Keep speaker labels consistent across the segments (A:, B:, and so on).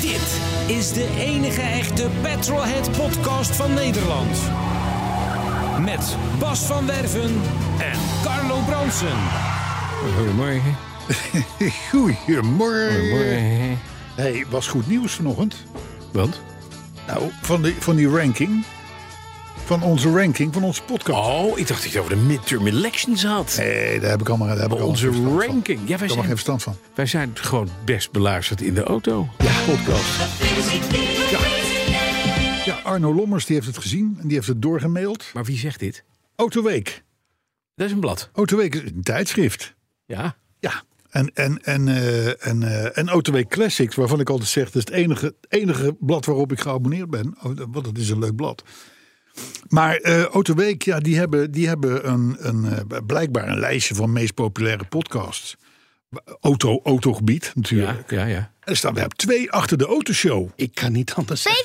A: Dit is de enige echte Petrolhead podcast van Nederland. Met Bas van Werven en Carlo Bronsen.
B: Goedemorgen.
C: Goedemorgen.
B: Goedemorgen.
C: Hey, was goed nieuws vanochtend.
B: Want?
C: Nou, van die, van die ranking. Van onze ranking, van onze podcast.
B: Oh, ik dacht dat je het over de midterm elections had.
C: Nee, daar heb ik allemaal, daar heb ik allemaal
B: Onze
C: geen verstand van.
B: ranking. Ja,
C: Daar
B: wij,
C: heb ik geen
B: zijn,
C: verstand van.
B: wij zijn gewoon best beluisterd in de auto.
C: Ja, podcast. Ja. ja, Arno Lommers die heeft het gezien en die heeft het doorgemaild.
B: Maar wie zegt dit?
C: Autoweek.
B: Dat is een blad.
C: Autoweek is een tijdschrift.
B: Ja.
C: Ja. En, en, en, eh, en, eh, en Autoweek Classics, waarvan ik altijd zeg... dat is het enige, het enige blad waarop ik geabonneerd ben. Oh, Want dat is een leuk blad. Maar eh Autoweek, ja, die hebben, die hebben een, een, eh, blijkbaar een lijstje van meest populaire podcasts. Auto, autogebied natuurlijk.
B: Ja, ja, ja.
C: En er staan we op twee achter de autoshow.
D: Ik kan niet anders zeggen.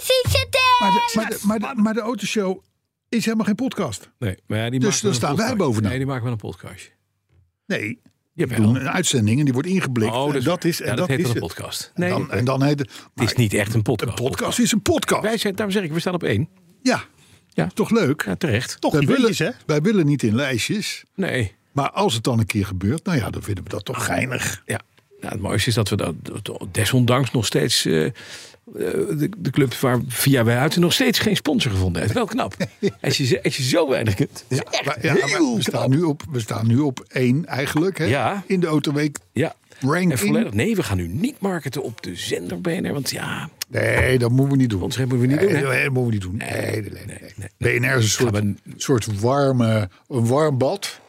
C: Maar de, maar de, maar de, maar de autoshow is helemaal geen podcast.
B: Nee, maar ja, die
C: Dus
B: maken wel
C: dan
B: een
C: staan wij
B: podcast.
C: bovenaan.
B: Nee, die maken wel een podcastje.
C: Nee, we
B: Jawel.
C: doen een uitzending en die wordt ingeblikt.
B: Oh,
C: en
B: dat,
C: dat is, en
B: ja, dat,
C: dat
B: heet
C: is
B: wel een
C: het.
B: podcast.
C: En
B: Nee,
C: dan, en dan heet het,
B: het is niet echt een podcast.
C: Een podcast is een podcast.
B: Wij zijn, daarom zeg ik, we staan op één.
C: Ja,
B: Ja.
C: toch leuk?
B: Ja, terecht.
D: Toch
C: wij,
D: die
C: willen,
D: willen hè?
C: wij willen niet in lijstjes.
B: Nee.
C: Maar als het dan een keer gebeurt, nou ja, dan vinden we dat
B: Ah,
C: toch geinig.
B: Ja, nou, het mooiste is dat we dat, dat- desondanks nog steeds. eh, eh, de, de club waar via wij uit nog steeds geen sponsor gevonden heeft. Wel knap. Als je, ze- als je zo weinig kunt. Ja,
C: Maar ja, maar we, staan nu op, we staan nu op één eigenlijk. Hè?
B: Ja.
C: In de autoweek.
B: ja.
C: Ranking.
B: En volledig, nee, we gaan nu niet marketen op de zender BNR. Want ja,
C: Nee, dat moeten we niet doen.
B: Ons hebben we niet doen,
C: Nee,
B: hè?
C: dat moeten we niet doen. Nee, nee, nee,
B: nee,
C: BNR is een soort,
B: Gaan
C: soort warme, een warm bad.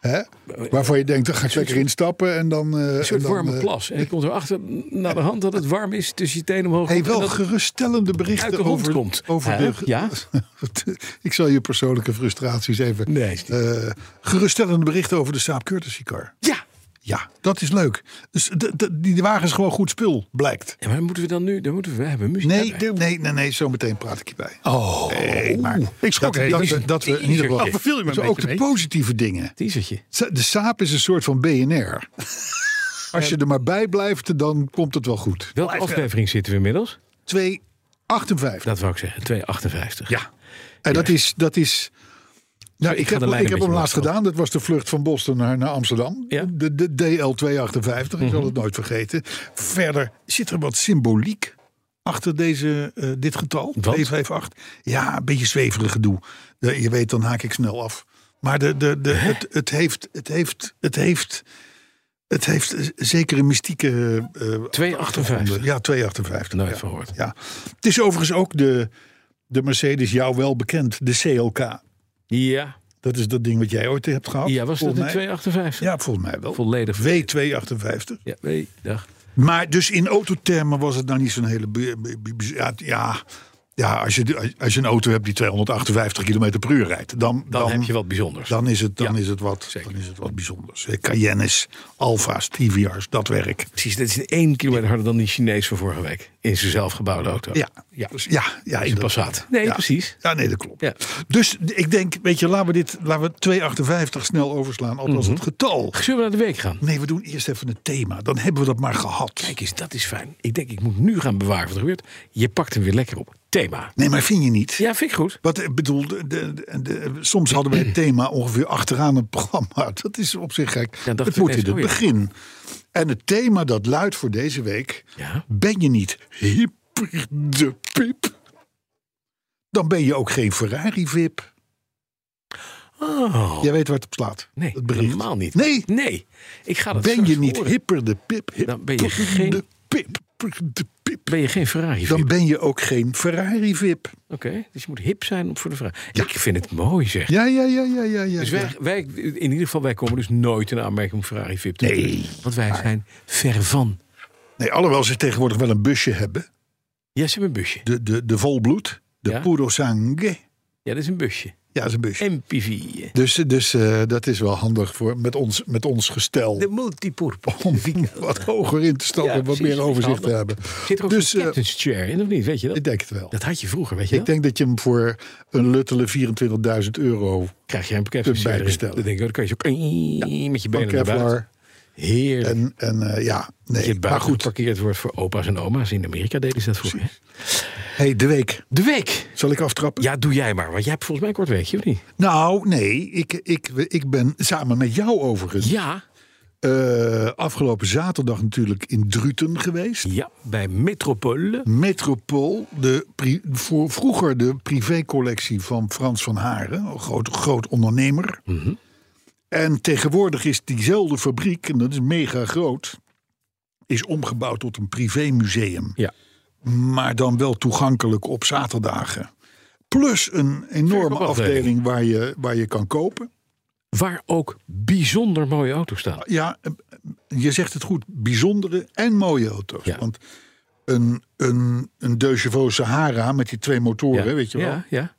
C: Hè? Waarvan je denkt, dan ga ik lekker instappen. En dan, eh,
B: Eh, een soort
C: en dan,
B: warme
C: eh,
B: plas. En ik kom erachter naar de hand dat het warm is tussen je tenen omhoog.
C: Hey,
B: En
C: wel
B: dat-
C: geruststellende berichten
B: uit de grond
C: over,
B: komt.
C: over
B: Hè?
C: de... ge-
B: Ja?
C: ik zal je persoonlijke frustraties even...
B: Nee, is niet-
C: eh, geruststellende berichten over de Saab Courtesy Car.
B: Ja.
C: Ja, dat is leuk. Dus d- d- die wagen is gewoon goed spul, blijkt.
B: ja, maar moeten we dan nu? Dan moeten we, we hebben muziek.
C: Nee,
B: daarbij.
C: nee, nee, nee, zometeen praat ik je bij.
D: Oh,
C: Nee, maar
D: ik schrok
C: dat,
D: even.
C: dat, we- dat we in ieder geval.
D: Oh, verviel je me een
C: Dus ook de
D: beetje mee?
C: positieve dingen.
B: Teasertje.
C: Sa- De saap is een soort van BNR. Als je er maar bij blijft, dan komt het wel goed.
B: Welke aflevering zitten we inmiddels?
C: 258.
B: Dat wou ik zeggen, 258.
D: Ja.
C: En dat is. Dat is nou,
B: Dus ik
C: ik
B: ga
C: heb,
B: de lijn
C: wel- ik
B: een
C: heb hem
B: beetje
C: laatst
B: omhoog.
C: gedaan. Dat was de vlucht van Boston naar, naar Amsterdam.
B: Ja. Mhm.
C: De, de DL258, ik zal het nooit vergeten. Verder zit er wat symboliek achter deze, eh, dit getal,
B: Want?
C: 258. Ja, een beetje zweverig gedoe. Eh, je weet, dan haak ik snel af. Maar de, de, de, het, het, heeft, het, heeft, het, heeft, het heeft eh, zekere mystieke... eh, eh,
B: 258.
C: ja, 258.
B: Nooit
C: ja.
B: van gehoord.
C: Ja. Het is overigens ook de, de Mercedes, jou wel bekend, de CLK.
B: Ja.
C: Dat is dat ding wat jij ooit hebt gehad.
B: Ja, was dat
C: Oh, volgens
B: in
C: mij.
B: 258?
C: Ja, volgens mij wel.
B: Volledig.
C: W258.
B: Ja, nee, dag.
C: Maar dus in autothermen was het nou niet zo'n hele... bu- bu- bu- bu- Ja, ja, ja als, je, als je een auto hebt die 258 km per uur rijdt... Dan,
B: Dan, heb je wat bijzonders.
C: dan is het, dan
B: Ja,
C: is het, wat,
B: zeker.
C: dan is het wat bijzonders. Eh, Cayennes, Alfa's, TVR's, dat werk.
B: Precies, dat is één kilometer harder dan die Chinees van vorige week. In zijn zelfgebouwde auto.
C: Ja,
B: ja.
C: Dus ja, ja
B: In
C: inderdaad.
B: Passat. Nee,
C: Ja.
B: precies.
C: Ja, nee, dat klopt.
B: Ja.
C: Dus ik denk, weet je, laten we, dit, laten we 258 snel overslaan. Althans
B: Mhm.
C: het getal.
B: Zullen we naar de week gaan?
C: Nee, we doen eerst even het thema. Dan hebben we dat maar gehad.
B: Kijk eens, dat is fijn. Ik denk, ik moet nu gaan bewaren wat er gebeurt. Je pakt hem weer lekker op. Thema.
C: Nee, maar vind je niet?
B: Ja, vind ik goed.
C: Wat ik bedoel, de, de- de- de- soms hadden wij het thema ongeveer achteraan het programma. Dat is op zich gek.
B: Ja, dacht
C: het
B: ik
C: moet in
B: ineens,
C: het
B: oh ja.
C: begin. En het thema dat luidt voor deze week:
B: Ja.
C: ben je niet hyper de piep? Dan ben je ook geen Ferrari-vip.
B: Oh,
C: Jij weet waar het op slaat.
B: nee,
C: het bericht.
B: helemaal niet.
C: Nee,
B: Nee, ik ga dat
C: ben
B: straks
C: je niet
B: horen.
C: hipper de pip?
B: Dan ben je
C: hipper
B: geen-
C: de pip. hipper De pip.
B: ben je geen Ferrari.
C: Dan
B: VIP.
C: ben je ook geen Ferrari-vip.
B: Oké, dus je moet hip zijn om voor de Ferrari. Ik vind het mooi zeg.
C: Ja, ja, ja, ja, ja. ja.
B: Dus wij, wij, in ieder geval, wij komen dus nooit in aanmerking om Ferrari VIP te
C: Nee,
B: worden. Want wij zijn ver van.
C: Nee, alhoewel ze tegenwoordig wel een busje hebben.
B: Ja, ze hebben een busje.
C: De, de, de volbloed. De
B: Ja.
C: puro sangue.
B: Ja, dat is een busje.
C: Ja, dat is een busje.
B: MPV.
C: Dus, dus eh, dat is wel handig voor, met, ons, met ons gestel.
B: De multipurpose.
C: Om wat hoger in te stappen,
B: Ja,
C: wat
B: precies,
C: meer overzicht
B: handig.
C: te hebben.
B: Zit er ook
C: Dus,
B: een
C: eh,
B: captain's chair in of niet? Weet je dat?
C: Ik denk het wel.
B: Dat had je vroeger, weet je
C: Ik
B: wel?
C: denk dat je hem voor een luttele 24.000 euro
B: Krijg je een captain's
C: Erbij
B: chair erin.
C: bestellen.
B: Dan denk ik, oh, dan kan je zo met je
C: van
B: benen naar buiten.
C: Kevlar.
B: Heerlijk.
C: En, en eh, ja,
B: dat je
C: nee. Maar
B: buiten
C: goed,
B: geparkeerd wordt voor opa's en oma's. In Amerika deden ze dat vroeger. hè?
C: hey, de week.
B: De week.
C: Zal ik aftrappen?
B: Ja, doe jij maar. Want jij hebt volgens mij een kort weekje, of niet?
C: Nou, nee. Ik, ik, ik ben samen met jou overigens
B: Ja.
C: eh, afgelopen zaterdag natuurlijk in Druten geweest.
B: Ja, bij Metropole.
C: Metropool, de pri- voor vroeger de privécollectie van Frans van Haren, een groot, groot ondernemer. En tegenwoordig is diezelfde fabriek, en dat is mega groot, is omgebouwd tot een privémuseum.
B: Ja.
C: Maar dan wel toegankelijk op zaterdagen. Plus een enorme
B: Verkoopafdeling.
C: afdeling waar je, waar je kan kopen.
B: Waar ook bijzonder mooie auto's staan.
C: Ja, eh, je zegt het goed. Bijzondere en mooie auto's.
B: Ja.
C: Want een, een, een Deux Chevaux Sahara met die twee motoren, weet je wel.
B: Ja, ja.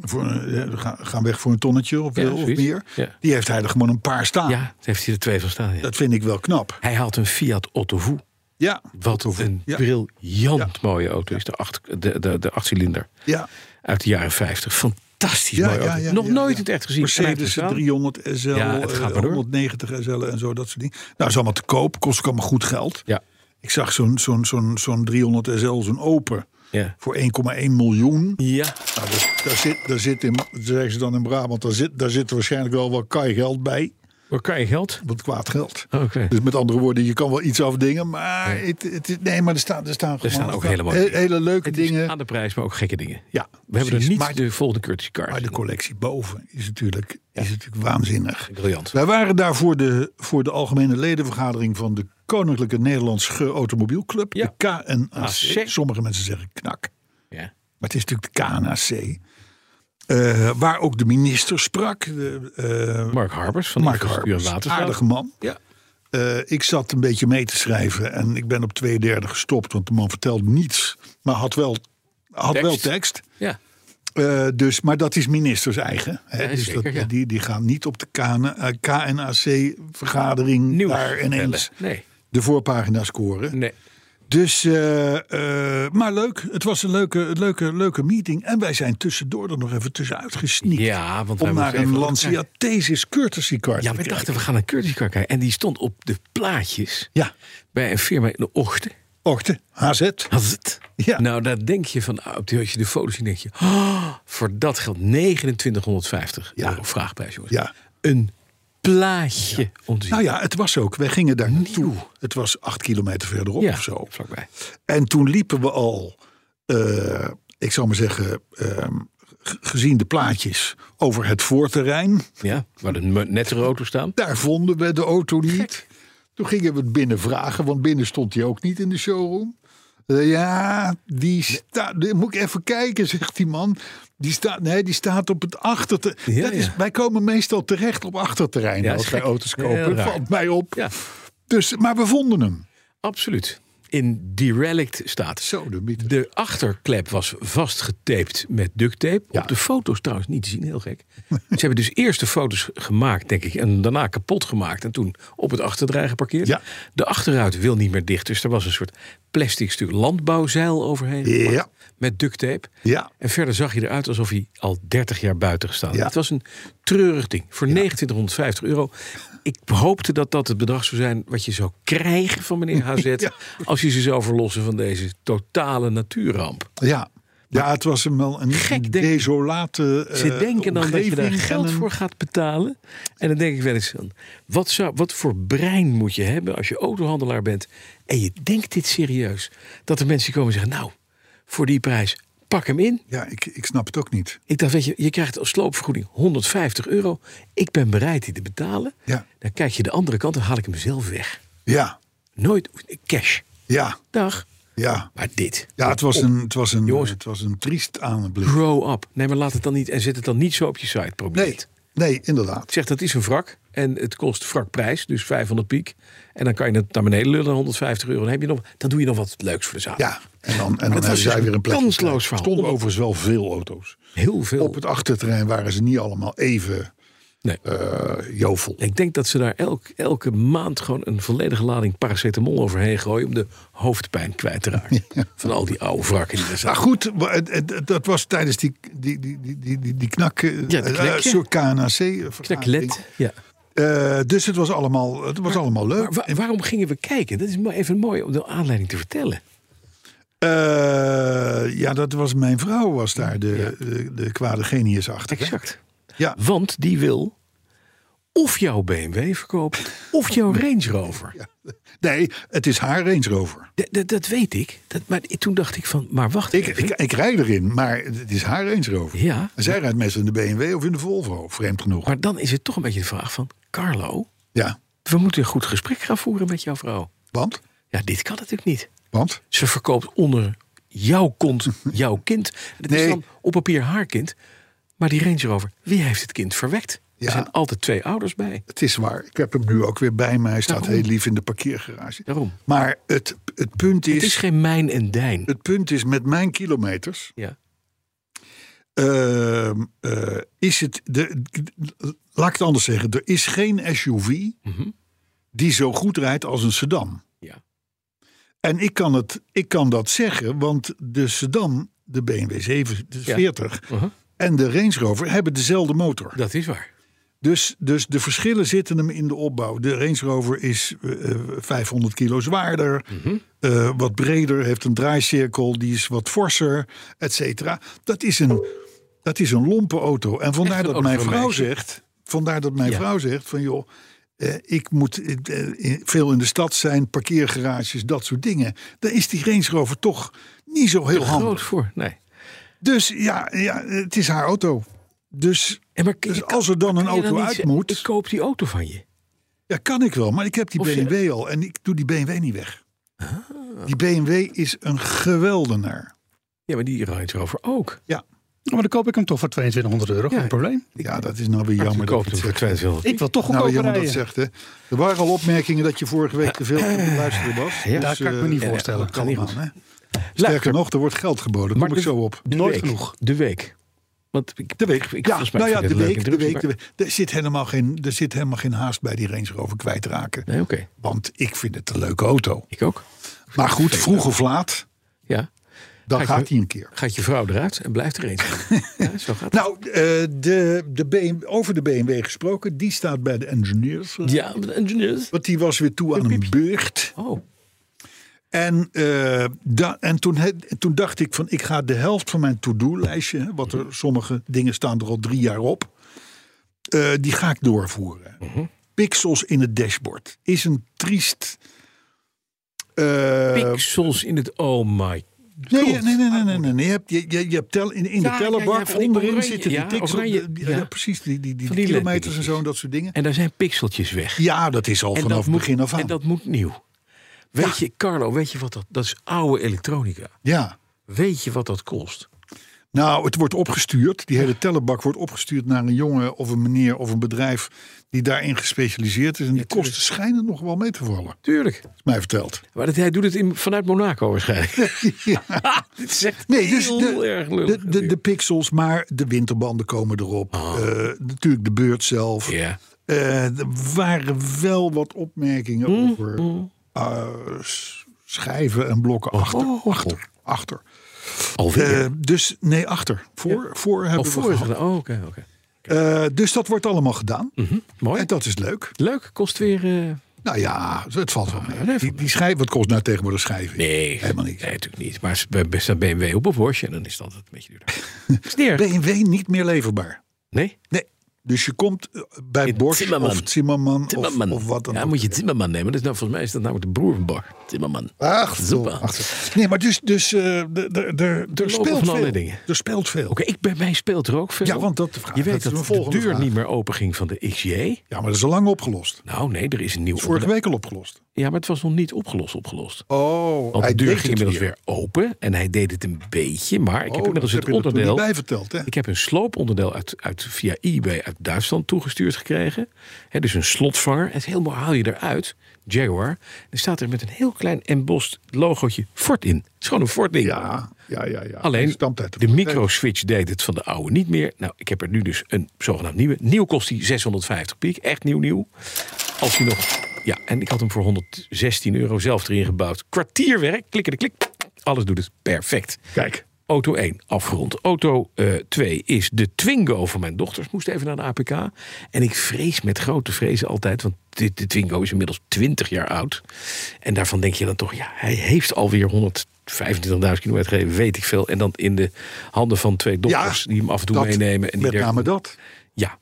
C: Voor, een- eh, ga- gaan weg voor een tonnetje of, eh,
B: Ja,
C: of
B: zoiets.
C: meer.
B: Ja.
C: Die heeft hij er gewoon een paar staan.
B: ja, daar heeft hij er twee van staan. ja.
C: Ah. Dat vind ik wel knap.
B: Hij haalt een Fiat Ottovu.
C: Ja,
B: Wat een
C: Ja.
B: briljant mooie auto is. De, acht, de, de, de achtcilinder
C: ja.
B: uit de jaren 50. Fantastisch
C: Ja,
B: mooie
C: ja,
B: auto.
C: ja,
B: Nog
C: ja,
B: nooit
C: ja.
B: het echt gezien.
C: Mercedes
B: En hij heeft er
C: 300 SL,
B: Ja, het
C: eh,
B: gaat maar door.
C: 190 SL en zo, dat soort dingen. Nou, is allemaal te koop, kost ook allemaal goed geld.
B: staan.
C: Ik zag zo'n zo'n zo'n zo'n 300 SL, zo'n Open,
B: Ja. Ja.
C: voor 1,1 miljoen.
B: ja.
C: Nou, dus daar zit, daar zit in, zeggen ze dan in Brabant, daar zit, daar zit waarschijnlijk wel wat kai geld bij.
B: Waar kan je geld? Oh,
C: Wat kwaad geld.
B: Oké.
C: Dus met andere woorden, je kan wel iets afdingen, maar het, het, is- nee, maar er staan, er staan, gewoon
B: staan ook
C: wel
B: hele mooie
C: he-
B: dingen.
C: hele leuke
B: Het is
C: dingen.
B: aan de prijs, maar ook gekke dingen.
C: Ja,
B: We hebben er
C: precies.
B: niet
C: maar,
B: de volgende courtesy cars.
C: maar de
B: in.
C: collectie boven is natuurlijk, is natuurlijk waanzinnig.
B: Briljant.
C: Wij waren daar voor de, voor de algemene ledenvergadering van de Koninklijke Nederlandse Automobielclub,
B: Ja.
C: de KNAC.
B: AC.
C: Sommige mensen zeggen knak,
B: Ja.
C: maar het is natuurlijk de KNAC. Eh, waar ook de minister sprak, de, eh,
B: Mark Harbers van
C: Mark
B: Infrastructuur en
C: Harbers,
B: Waterstaat.
C: aardige man.
B: Ja.
C: Eh, ik zat een beetje mee te schrijven en ik ben op twee derde gestopt, want de man vertelde niets, maar had wel, had
B: Tekst.
C: wel tekst.
B: ja.
C: Eh, dus, maar dat is ministers eigen. Hè?
B: Ja,
C: dus
B: zeker,
C: dat,
B: ja.
C: die, die gaan niet op de eh, KNAC-vergadering
B: Nieuws.
C: daar ineens
B: vertellen. Nee.
C: de voorpagina scoren.
B: Nee.
C: Dus, eh, eh, maar leuk. Het was een leuke, leuke, leuke meeting. En wij zijn tussendoor er nog even tussenuit gesneakt.
B: Ja, want wij
C: om naar
B: moeten
C: een
B: even-
C: Lancia Thesis courtesy car
B: Ja,
C: te
B: we dachten
C: krijgen.
B: we gaan een courtesy car kijken. En die stond op de plaatjes
C: Ja,
B: bij een firma in de ochtend.
C: ochtend, HZ.
B: Had het?
C: Ja.
B: Nou, daar denk je van, ah, op die, als je de foto's ziet, denk je, oh, voor dat geld 2950
C: Ja.
B: euro vraagprijs, jongens.
C: Ja.
B: Een plaatje om te zien.
C: Nou ja, het was ook. Wij gingen daar naartoe. Het was acht kilometer verderop
B: Ja,
C: of zo.
B: vlakbij.
C: En toen liepen we al, eh, ik zal maar zeggen, eh, g- gezien de plaatjes over het voorterrein.
B: Ja, waar de me- nettere auto's staan.
C: Daar vonden we de auto niet. Toen gingen we het binnen vragen, want binnen stond hij ook niet in de showroom. Eh, Ja, die staat. Moet ik even kijken, zegt die man. Die staat, nee, die staat op het achterte.
B: Ja,
C: dat is,
B: ja.
C: Wij komen meestal terecht op achterterrein
B: Ja,
C: als
B: is
C: wij
B: gek.
C: auto's
B: Heel
C: kopen.
B: raar.
C: Valt mij op.
B: Ja,
C: Dus, maar we vonden hem.
B: absoluut. In derelict staat.
C: Zo, de mythe.
B: De achterklep was vastgetaped met duct tape.
C: Ja.
B: Op de foto's trouwens niet te zien, heel gek. Ze hebben dus eerst de foto's gemaakt, denk ik, en daarna kapot gemaakt. En toen op het achterdraai geparkeerd.
C: Ja.
B: De achterruit wil niet meer dicht, dus er was een soort plastic stuk landbouwzeil overheen. gemaakt
C: Ja.
B: Met duct tape.
C: Ja.
B: En verder zag je eruit alsof hij al 30 jaar buiten gestaan had.
C: Ja.
B: Het was een treurig ding. Voor 2950 euro. Ik hoopte dat dat het bedrag zou zijn wat je zou krijgen van meneer HZ.
C: Ja.
B: Als je ze zou verlossen van deze totale natuurramp.
C: Ja. Ja, het was hem wel een
B: Gek denk-
C: desolate
B: Ze
C: eh,
B: denken dan dat je daar
C: omgeving en
B: geld
C: een-
B: voor gaat betalen. En dan denk ik wel eens van, wat, zou, wat voor brein moet je hebben als je autohandelaar bent en je denkt dit serieus? Dat er mensen komen en zeggen, nou, voor die prijs, pak hem in.
C: Ja, ik, ik snap het ook niet.
B: Ik dacht, weet je, je krijgt als sloopvergoeding 150 euro. Ik ben bereid die te betalen.
C: Ja.
B: Dan kijk je de andere kant, dan haal ik hem zelf weg.
C: Ja,
B: Nooit cash.
C: ja.
B: Dag.
C: Ja,
B: Maar dit.
C: ja het, was een, het, was een,
B: Jongens.
C: het was een triest aanblik.
B: Grow up. Nee, maar laat het dan niet. En zet het dan niet zo op je site. Probeer
C: Nee,
B: het.
C: nee, inderdaad.
B: Zeg dat is een wrak. En het kost wrakprijs. Dus 500 piek. En dan kan je het naar beneden lullen. 150 euro. Dan, heb je nog, dan doe je nog wat leuks voor de zaak.
C: Ja, en dan, en dan
B: was
C: hebben zij
B: een
C: weer een plek.
B: kansloos
C: gekregen.
B: verhaal.
C: Er stonden overigens wel veel auto's.
B: Heel veel.
C: Op het achterterrein waren ze niet allemaal even
B: Nee.
C: eh, jovel.
B: Ik denk dat ze daar elk, elke maand gewoon een volledige lading paracetamol overheen gooien. om de hoofdpijn kwijt te raken. Van al die oude wrakken die er
C: Maar
B: zijn.
C: Nou goed, wa- het- het- dat was tijdens die, die, die, die, die, die, die knak... eh,
B: Ja, de
C: eh,
B: knak,
C: een
B: ja.
C: soort KNAC-vergadering.
B: Kneklet. Ja.
C: eh, dus het was allemaal, het was allemaal leuk.
B: Maar wa- waarom gingen we kijken? Dat is maar even mooi om de aanleiding te vertellen.
C: Eh, ja, dat was mijn vrouw was daar de, de, de kwade genius achter. hè?
B: Exact.
C: Ja,
B: Want die wil of jouw BMW verkopen of jouw Range Rover.
C: nee, het is haar Range Rover.
B: D- d- dat weet ik. Dat, maar toen dacht ik van, maar wacht
C: Ik,
B: even.
C: ik, ik rij erin, maar het is haar Range Rover.
B: Ja.
C: En zij rijdt meestal in de BMW of in de Volvo, vreemd genoeg.
B: Maar dan is het toch een beetje de vraag van, Carlo,
C: Ja,
B: we moeten een goed gesprek gaan voeren met jouw vrouw.
C: want?
B: Ja, dit kan natuurlijk niet.
C: Want?
B: Ze verkoopt onder jouw kont jouw kind. Het is
C: Nee.
B: dan op papier haar kind. Maar die Range Rover, wie heeft het kind verwekt?
C: Ja.
B: Er zijn altijd twee ouders bij.
C: Het is waar. Ik heb hem nu ook weer bij mij. Hij staat
B: Daarom.
C: heel lief in de parkeergarage.
B: Daarom.
C: Maar het, het, punt is,
B: Het
C: het,
B: is geen mijn en dijn.
C: punt is, met mijn kilometers...
B: Ja.
C: eh, eh, is het... De, laat ik het anders zeggen. Er is geen SUV
B: Mhm.
C: die zo goed rijdt als een sedan.
B: Ja.
C: En ik kan, het, ik kan dat zeggen, want de sedan, de BMW 740
B: Uh-huh.
C: en de Range Rover hebben dezelfde motor.
B: Dat is waar.
C: Dus, dus de verschillen zitten hem in de opbouw. De Range Rover is eh, eh, 500 kilo zwaarder,
B: Mhm.
C: eh, wat breder, heeft een draaicirkel, die is wat forser, et cetera. Dat is een, dat is een lompe auto. En vandaar
B: Echt een
C: dat mijn
B: auto voor
C: vrouw
B: een meisje.
C: zegt, vandaar dat mijn
B: Ja.
C: vrouw zegt van joh, eh, ik moet eh, eh, veel in de stad zijn, parkeergarages, dat soort dingen. Daar is die Range Rover toch niet zo heel
B: Groot
C: handig.
B: voor. Nee.
C: Dus ja, ja, het is haar auto. Dus,
B: En maar,
C: dus
B: je kan-
C: als er dan een
B: kan je
C: auto
B: niet
C: uit
B: zeggen,
C: moet...
B: Ik koop die auto van je.
C: Ja, kan ik wel, maar ik heb die
B: Of je-
C: BMW al en ik doe die BMW niet weg.
D: Ah.
C: Die BMW is een geweldenaar.
B: Ja, maar die Range Rover ook.
C: Ja,
D: Maar dan koop ik hem toch voor 2200 euro.
B: Ja.
D: Geen probleem.
C: ja dat is nou weer
B: Je
C: jammer dat
B: koopt
C: je
B: hem
C: het
B: voor
C: zegt.
B: 2200.
D: Ik wil toch
C: Nou,
D: goedkoper
C: jammer dat
D: rijden.
C: je het zegt, hè. Er waren al opmerkingen dat je vorige week te veel op het luisteren was.
B: Ja,
D: Daar kan ik me niet
C: eh,
D: voorstellen.
C: dat kan
B: Niet
C: allemaal,
B: goed.
C: hè.
B: Luister,
C: Sterker nog, er wordt geld geboden. Daar
B: Maar
C: Kom ik
B: de-
C: zo op.
B: dus de
D: Nooit
B: week.
D: genoeg.
B: De week. Want ik,
C: De week.
B: Ik, ik,
C: ja,
B: volgens mij
C: nou ja,
B: vind
C: de
B: ik het een
C: week,
B: leuke
C: de week, de
B: introductie,
C: week. Er zit helemaal geen, er zit helemaal geen haast bij die Range Rover kwijtraken.
B: maar- Nee, oké.
C: Want ik vind het een leuke auto.
B: Ik ook.
C: Maar goed, vroeg of laat,
B: Ja.
C: dan
B: ik
C: gaat
B: weer-
C: hij een keer.
B: Gaat je vrouw eruit en blijft er eens. ja, zo gaat het.
C: Nou, eh, de, de BM over de BMW gesproken, die staat bij de engineers.
B: Ja, de engineers.
C: Want die was weer toe aan een beurt.
B: Oh,
C: En, eh, da- en toen, he- toen dacht ik van ik ga de helft van mijn to-do-lijstje, hè, wat er sommige dingen staan er al drie jaar op, eh, die ga ik doorvoeren. Pixels in het dashboard is een triest. eh,
B: pixels in het... Oh my...
C: nee, nee, nee, nee, nee, nee, nee. Je hebt, je, je, je hebt tel, in, in
B: Ah, Ja,
C: de
B: ja,
C: tellerbak
B: ja, van die
C: onderin
B: oranje-
C: zitten die
B: ja,
C: pixels.
B: oranje-
C: die-
B: ja.
C: ja, precies, die, die, die,
B: Van die
C: kilometers en zo en
B: lentepixels.
C: dat soort dingen.
B: En daar zijn pixeltjes weg.
C: Ja, dat is al
B: en
C: vanaf
B: dat
C: het
B: moet-
C: begin af aan.
B: En dat moet nieuw. Weet je, Carlo, weet je wat dat... Dat is oude elektronica.
C: Ja.
B: Weet je wat dat kost?
C: Nou, het wordt opgestuurd. Die hele tellenbak wordt opgestuurd naar een jongen of een meneer of een bedrijf die daarin gespecialiseerd is. En die kosten schijnen nog wel mee te vallen,
B: Tuurlijk.
C: is mij verteld.
B: Maar dat, hij doet het in, vanuit Monaco waarschijnlijk. Dit is echt
C: Nee, dus
B: heel
C: de,
B: erg lullig. Ah.
C: de, de, de pixels, maar de winterbanden komen erop. Eh, natuurlijk de beurt zelf.
B: Ja.
C: Eh, er waren wel wat opmerkingen
B: Hm?
C: over eh, s- schijven en blokken achter.
B: oh, oh.
C: achter, achter.
B: Alweer.
C: Eh, dus nee, achter. Voor, voor hebben
B: of
C: we
B: voor is
C: gehad.
B: het- Oh, oké, oké.
C: Eh, dus dat wordt allemaal gedaan.
B: Mhm. Mooi.
C: En dat is leuk.
B: Leuk, kost weer... eh,
C: Nou ja, het valt wel mee.
B: nee,
C: die, die schijf, wat kost nou tegenwoordig schijven?
B: Nee,
C: Helemaal niet.
B: Nee, natuurlijk niet. Maar als bij- bij- staat BMW op of Porsche, en dan is dat een beetje duurder. Sneer.
C: BMW niet meer leverbaar.
B: Nee?
C: Nee. Dus je komt eh, bij
B: In
C: Bosch
B: Timmerman.
C: of Zimmerman,
B: Timmerman.
C: Of, of wat dan
B: ja,
C: ook.
B: moet je Timmerman nemen. Dat is nou, volgens mij is dat namelijk de broer van Bach. Timmerman.
C: Ach,
B: Zoepa.
C: joh, ach, joh. Nee, maar dus, dus eh, d- d- d- er
B: van
C: speelt
B: allerlei
C: veel.
B: dingen.
C: Er speelt veel.
B: Oké, ik bij mij speelt er ook veel.
C: Ja, want dat de vraag-
B: Je
C: dat is
B: weet
C: mijn
B: dat, de
C: volgende
B: deur
C: vraag.
B: niet meer open ging van de XJ.
C: Ja, maar dat is al lang opgelost.
B: Nou nee, er is een nieuw...
C: Vorige week al opgelost.
B: Ja, maar het was nog niet opgelost opgelost.
C: Oh,
B: Want de deur
C: deed
B: ging
C: het
B: inmiddels weer open en hij deed het een beetje. Maar ik
C: Oh,
B: heb inmiddels
C: dat
B: het
C: heb je er toen
B: onderdeel...
C: niet bij verteld, hè?
B: Ik heb een slooponderdeel uit, uit, via eBay uit Duitsland toegestuurd gekregen. Hè, dus een slotvanger. Het is heel mooi, haal je eruit. Jaguar. En er staat er met een heel klein embossed logootje Ford in. Het is gewoon een Ford ding.
C: Ja, ja, ja. ja. Het
B: Alleen
C: stamt uit
B: de microswitch deed het van de oude niet meer. Nou, ik heb er nu dus een zogenaamd nieuwe. Nieuw kost die 650 piek. Echt nieuw, nieuw. Als hij nog. Ja, en ik had hem voor 116 euro zelf erin gebouwd. Kwartierwerk, klikken de klik. Alles doet het perfect.
C: Kijk.
B: Auto 1 afgerond. Auto eh, 2 is de Twingo van mijn dochters. Moest even naar de APK. En ik vrees met grote vrezen altijd. Want de, de Twingo is inmiddels 20 jaar oud. En daarvan denk je dan toch. Ja, hij heeft alweer 125.000 kilometer gereden. Weet ik veel. En dan in de handen van twee dochters. die hem af en toe
C: dat,
B: meenemen. En die
C: Met
B: er-
C: name dat.
B: Ja.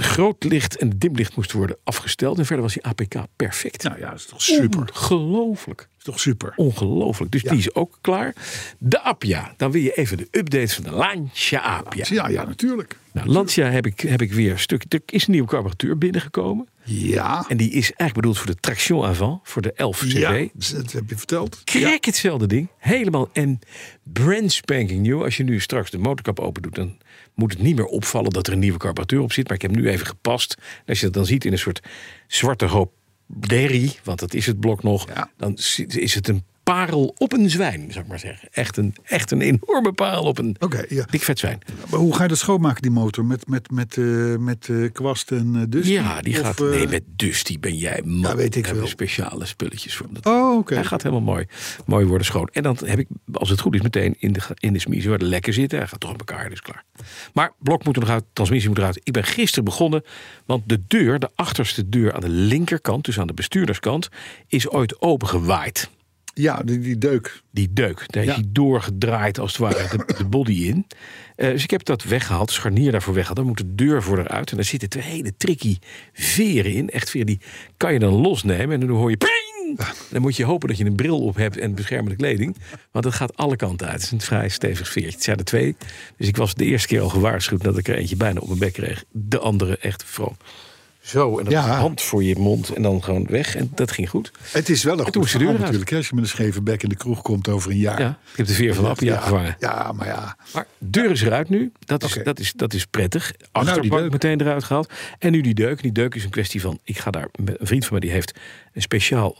B: Groot licht en dimlicht moest worden afgesteld. En verder was die APK perfect.
C: Nou ja, dat is toch super. Dat
B: Ongelooflijk.
C: is toch super.
B: Ongelooflijk. Dus die is ook klaar. De Appia. Dan wil je even de updates van de Lancia Appia.
C: Ja, ja, natuurlijk.
B: Nou, Lancia heb ik, heb ik weer een stuk. Er is een nieuwe carburateur binnengekomen.
C: Ja.
B: En die is eigenlijk bedoeld voor de traction avant. Voor de 11 CV.
C: Ja, dat heb je verteld.
B: Krek hetzelfde ding. Helemaal. En brand spanking new. Als je nu straks de motorkap open doet, dan moet het niet meer opvallen dat er een nieuwe carburateur op zit. Maar ik heb hem nu even gepast. En als je dat dan ziet in een soort zwarte hoop derrie, want dat is het blok nog,
C: Ja.
B: dan zi- is het een parel op een zwijn, zou ik maar zeggen. Echt een, echt een enorme parel op een
C: Oké, ja.
B: dik vet zwijn.
C: Maar hoe ga je dat schoonmaken, die motor? Met, met, met, eh, met eh, kwast en eh, dus?
B: Ja, die
C: Of,
B: gaat.
C: eh,
B: nee, met dus die ben jij man.
C: Ja, weet ik
B: We hebben
C: wel.
B: speciale spulletjes voor. Dat
C: Oh, oké.
B: Hij gaat helemaal mooi, mooi worden schoon. En dan heb ik, als het goed is, meteen in de, in de smiezen waar de lekker zitten. Hij gaat toch op elkaar, dus klaar. Maar blok moet er nog uit, transmissie moet eruit. Ik ben gisteren begonnen, want de deur, de achterste deur aan de linkerkant, dus aan de bestuurderskant, is ooit opengewaaid.
C: Ja, die, die deuk.
B: Die deuk, daar is
C: Ja.
B: hij doorgedraaid als het ware de, de body in. Eh, dus ik heb dat weggehaald, scharnier daarvoor weggehaald. Dan moet de deur voor eruit. En daar zitten twee hele tricky veren in. Echt veren die kan je dan losnemen. En dan hoor je ping! Dan moet je hopen dat je een bril op hebt en beschermende kleding. Want dat gaat alle kanten uit. Het is een vrij stevig veertje. Het zijn er twee. Dus ik was de eerste keer al gewaarschuwd dat ik er eentje bijna op mijn bek kreeg. De andere echt vroom. Zo, en dan
C: Ja.
B: hand voor je mond en dan gewoon weg. En dat ging goed.
C: Het is wel een
B: En toen
C: goed
B: moest de
C: verhaal
B: deur eruit.
C: natuurlijk. hè, Als je met een scheve bek in de kroeg komt over een jaar.
B: Ja, ik heb de veer van de appia
C: ja,
B: gevangen.
C: Ja, maar ja.
B: Maar deur is eruit nu. Dat is,
C: Oké. Nou,
B: dat is, dat is prettig.
C: die
B: Achterbank
C: deuk.
B: meteen eruit gehaald. En nu die deuk. Die deuk is een kwestie van... Ik ga daar... Een vriend van mij die heeft een speciaal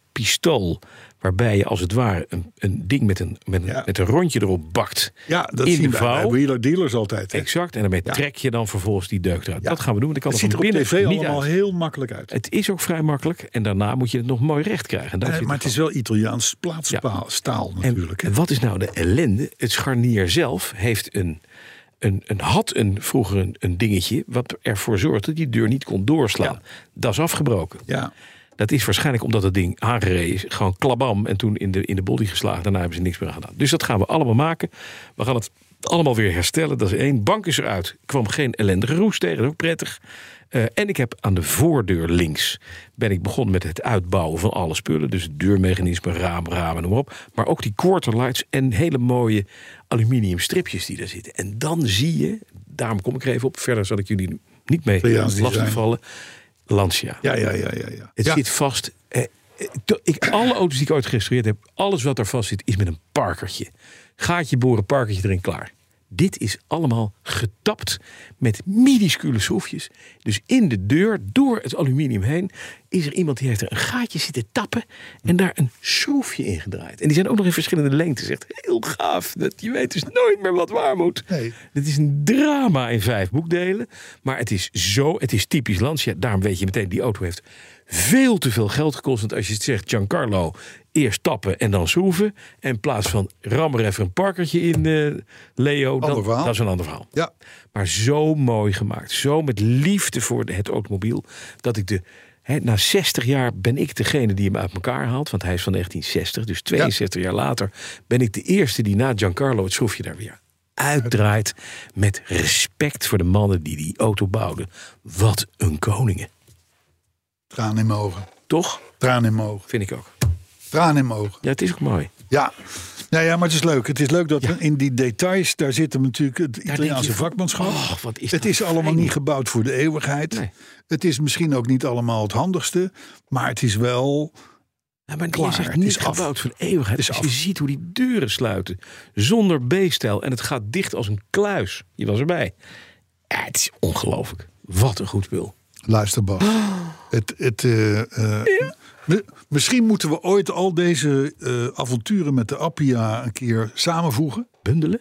B: laspistool... waarbij je als het ware een, een ding met een, met, een,
C: Ja.
B: met een rondje erop bakt.
C: Ja, dat
B: in
C: zien
B: de
C: we bij
B: vouw.
C: wheeler dealers altijd. hè.
B: Exact. En daarmee trek je dan vervolgens die deuk eruit.
C: Ja.
B: Dat gaan we doen. Want ik kan
C: Het
B: er
C: ziet er
B: van
C: op
B: binnen
C: tv
B: niet
C: allemaal
B: uit.
C: heel makkelijk uit.
B: Het is ook vrij makkelijk. En daarna moet je het nog mooi recht krijgen. En daar
C: Eh,
B: zit
C: maar het is wel Italiaans
B: Ja.
C: plaatsstaal staal
B: En
C: natuurlijk. hè.
B: wat is nou de ellende? Het scharnier zelf heeft een, een, een, had een, vroeger een, een dingetje... wat ervoor zorgde dat die deur niet kon doorslaan. Dat is afgebroken.
C: Ja.
B: Dat is waarschijnlijk omdat het ding aangereden is. Gewoon klabam en toen in de, in de body geslagen. Daarna hebben ze niks meer aan gedaan. Dus dat gaan we allemaal maken. We gaan het allemaal weer herstellen. Dat is één. Bank is eruit. Er kwam geen ellendige roes tegen. Dat is ook prettig. Eh, en ik heb aan de voordeur links ben ik begonnen met het uitbouwen van alle spullen. Dus het deurmechanisme, raam, raam en noem maar op. Maar ook die quarterlights en hele mooie aluminium stripjes die daar zitten. En dan zie je, daarom kom ik er even op. Verder zal ik jullie niet mee
C: Italiaans
B: lastig
C: design.
B: vallen. Lancia.
C: Ja, ja, ja, ja. ja.
B: Het
C: ja.
B: zit vast. eh, eh, to- ik, alle auto's die ik ooit gerestaureerd heb, alles wat er vast zit, is met een parkertje. Gaatje boren, parkertje erin, klaar. Dit is allemaal getapt met minuscule schroefjes. Dus in de deur, door het aluminium heen, is er iemand die heeft er een gaatje zitten tappen en daar een schroefje in gedraaid. En die zijn ook nog in verschillende lengtes. Echt heel gaaf. Dat je weet dus nooit meer wat waar moet.
C: Nee.
B: Dit is een drama in vijf boekdelen. Maar het is zo, het is typisch Lancia. Daarom weet je meteen, die auto heeft veel te veel geld gekost. Want als je het zegt, Giancarlo, eerst tappen en dan schroeven. En in plaats van ram er even een parkertje in, eh, Leo. Dan,
C: Ander verhaal.
B: dat is een ander verhaal.
C: Ja.
B: Maar zo mooi gemaakt. Zo met liefde voor de- het automobiel. Dat ik de... Hè, na 60 jaar ben ik degene die hem uit elkaar haalt. Want hij is van 1960. Dus 62 jaar later ben ik de eerste die na Giancarlo het schroefje daar weer uitdraait. Met respect voor de mannen die die auto bouwden. Wat een koningen.
C: Traan in mijn ogen.
B: Toch?
C: Traan in mijn ogen.
B: Vind ik ook.
C: Traan in mijn ogen.
B: Ja, het is ook mooi.
C: Ja. Nou ja, maar het is leuk. Het is leuk dat we in die details, daar zit hem natuurlijk het
B: je
C: Italiaanse
B: van,
C: vakmanschap.
B: oh, wat is
C: het
B: dat
C: is allemaal
B: fijn.
C: niet gebouwd voor de eeuwigheid.
B: Nee.
C: Het is misschien ook niet allemaal het handigste, maar het is wel.
B: Ja, maar
C: Klaar,
B: je zegt
C: het
B: niet
C: is af.
B: gebouwd voor de eeuwigheid.
C: Het is
B: Als je
C: af.
B: ziet hoe die deuren sluiten. Zonder B-stijl. En het gaat dicht als een kluis. Je was erbij. Ja, het is ongelooflijk. Wat een goed spul.
C: Luister, Bas.
B: Oh.
C: Het, het, eh, eh, we- misschien moeten we ooit al deze eh, avonturen met de Appia een keer samenvoegen.
B: Bundelen?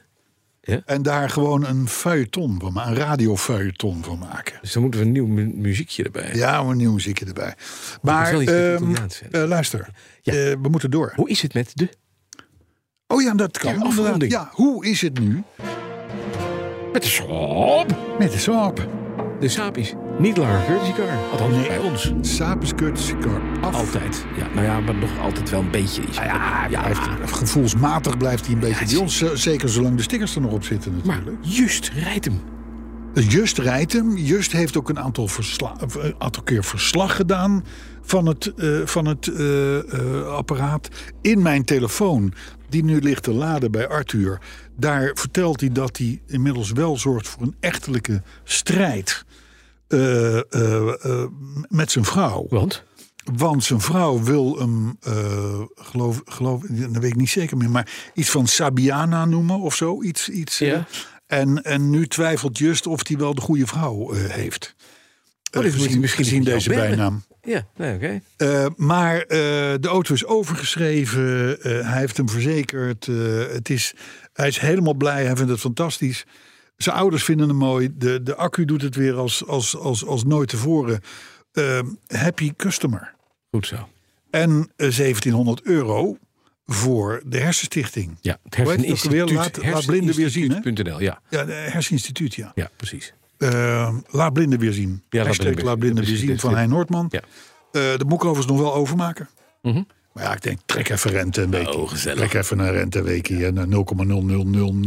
C: En daar gewoon een feuilleton van maken, een radiofeuilleton van maken.
B: Dus dan moeten we een nieuw mu- muziekje erbij.
C: Ja, maar nieuw muziekje erbij. Maar
B: wel iets met
C: ehm,
B: Italiaans zijn.
C: eh, luister,
B: Ja.
C: eh, we moeten door.
B: Hoe is het met de...
C: Oh ja, dat kan.
B: Ja,
C: inderdaad.
B: afronding.
C: Ja, hoe is het nu
B: Met de saap?
C: met de saap?
B: De saap is niet langer courtesy car. Althans
C: Nee.
B: bij ons.
C: Saap is kut, kar af.
B: Altijd. Ja, nou ja, maar nog altijd wel een beetje. Is ja,
C: Hij heeft- Gevoelsmatig blijft hij een beetje
B: het
C: bij
B: is-
C: ons. eh, Zeker zolang de stickers er nog op zitten
B: Maar
C: natuurlijk. Eh,
B: juist rijdt hem.
C: Just rijdt hem. Just heeft ook een aantal, versla- of, eh, aantal keer verslag gedaan van het, eh, van het eh, eh, apparaat. In mijn telefoon, die nu ligt te laden bij Arthur... daar vertelt hij dat hij inmiddels wel zorgt voor een echtelijke strijd... eh, eh, eh, met zijn vrouw.
B: Want?
C: Want zijn vrouw wil hem, eh, geloof, geloof, dat weet ik niet zeker meer, maar iets van Sabiana noemen of zo. Iets, iets, eh,
B: Ja.
C: en, en nu twijfelt Just of hij wel de goede vrouw eh, heeft.
B: Oh,
C: Eh,
B: dit moet hij
C: gezien
B: misschien
C: gezien
B: wel
C: deze
B: bellen.
C: bijnaam.
B: Ja, nee, oké.
C: Eh, maar eh, de auto is overgeschreven. eh, hij heeft hem verzekerd. eh, het is, hij is helemaal blij. Hij vindt het fantastisch. Zijn ouders vinden hem mooi. De, de accu doet het weer als, als, als, als nooit tevoren. Eh, happy customer.
B: Goed zo.
C: En eh, 1700 euro voor de hersenstichting.
B: Ja, het
C: Hoe heet het ook alweer?
B: herseninstituut.
C: Laat- laat blinden weer zien, hè?
B: herseninstituut.nl, Ja,
C: Ja, de herseninstituut, ja.
B: ja, precies.
C: Eh, laat blinden weer zien.
B: Ja,
C: Ja,
B: laat blinden weer
C: laat
B: zien.
C: blinden weer
B: Ja, precies,
C: zien
B: dit-
C: van
B: dit-
C: Hein Noordman.
B: Ja.
C: Eh, de moet ik overigens nog wel overmaken.
B: Mhm.
C: Maar ja, ik denk, trek even rente een week.
B: Oh, gezellig.
C: Trek even een renteweekje. hè, naar 0,00001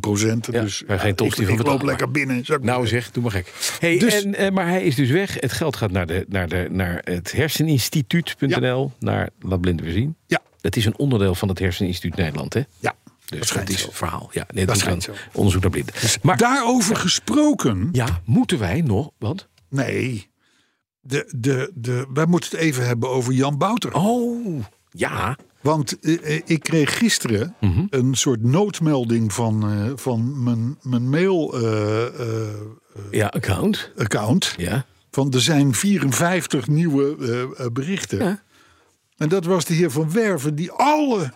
C: procent.
B: Ja,
C: dus
B: maar geen
C: ja,
B: tosti
C: ik,
B: van
C: ik loop
B: betalen,
C: lekker binnen. Zou ik-
B: Nou zeg, doe maar gek. Hey,
C: Dus-
B: en, eh, maar hij is dus weg. Het geld gaat naar, de, naar, de, naar het herseninstituut.nl. Naar Laat Blinden Weer Zien.
C: Ja.
B: Dat is een onderdeel van het Herseninstituut Nederland, hè?
C: ja,
B: Dus
C: dat schijnt
B: is
C: zo.
B: het verhaal. Ja, nee, dat Dus is
C: schijnt
B: dan onderzoek naar blinden. maar
C: Daarover gesproken.
B: ja, moeten wij nog? Want?
C: Nee. De, de, de, wij moeten het even hebben over Jan Bouter.
B: Oh, ja.
C: Want eh, eh, ik kreeg gisteren een soort noodmelding van, eh, van mijn, mijn eh, mail-account.
B: Ja, account. Ja.
C: van er zijn 54 nieuwe eh, eh, berichten.
B: Ja.
C: En dat was de heer Van Werven die alle,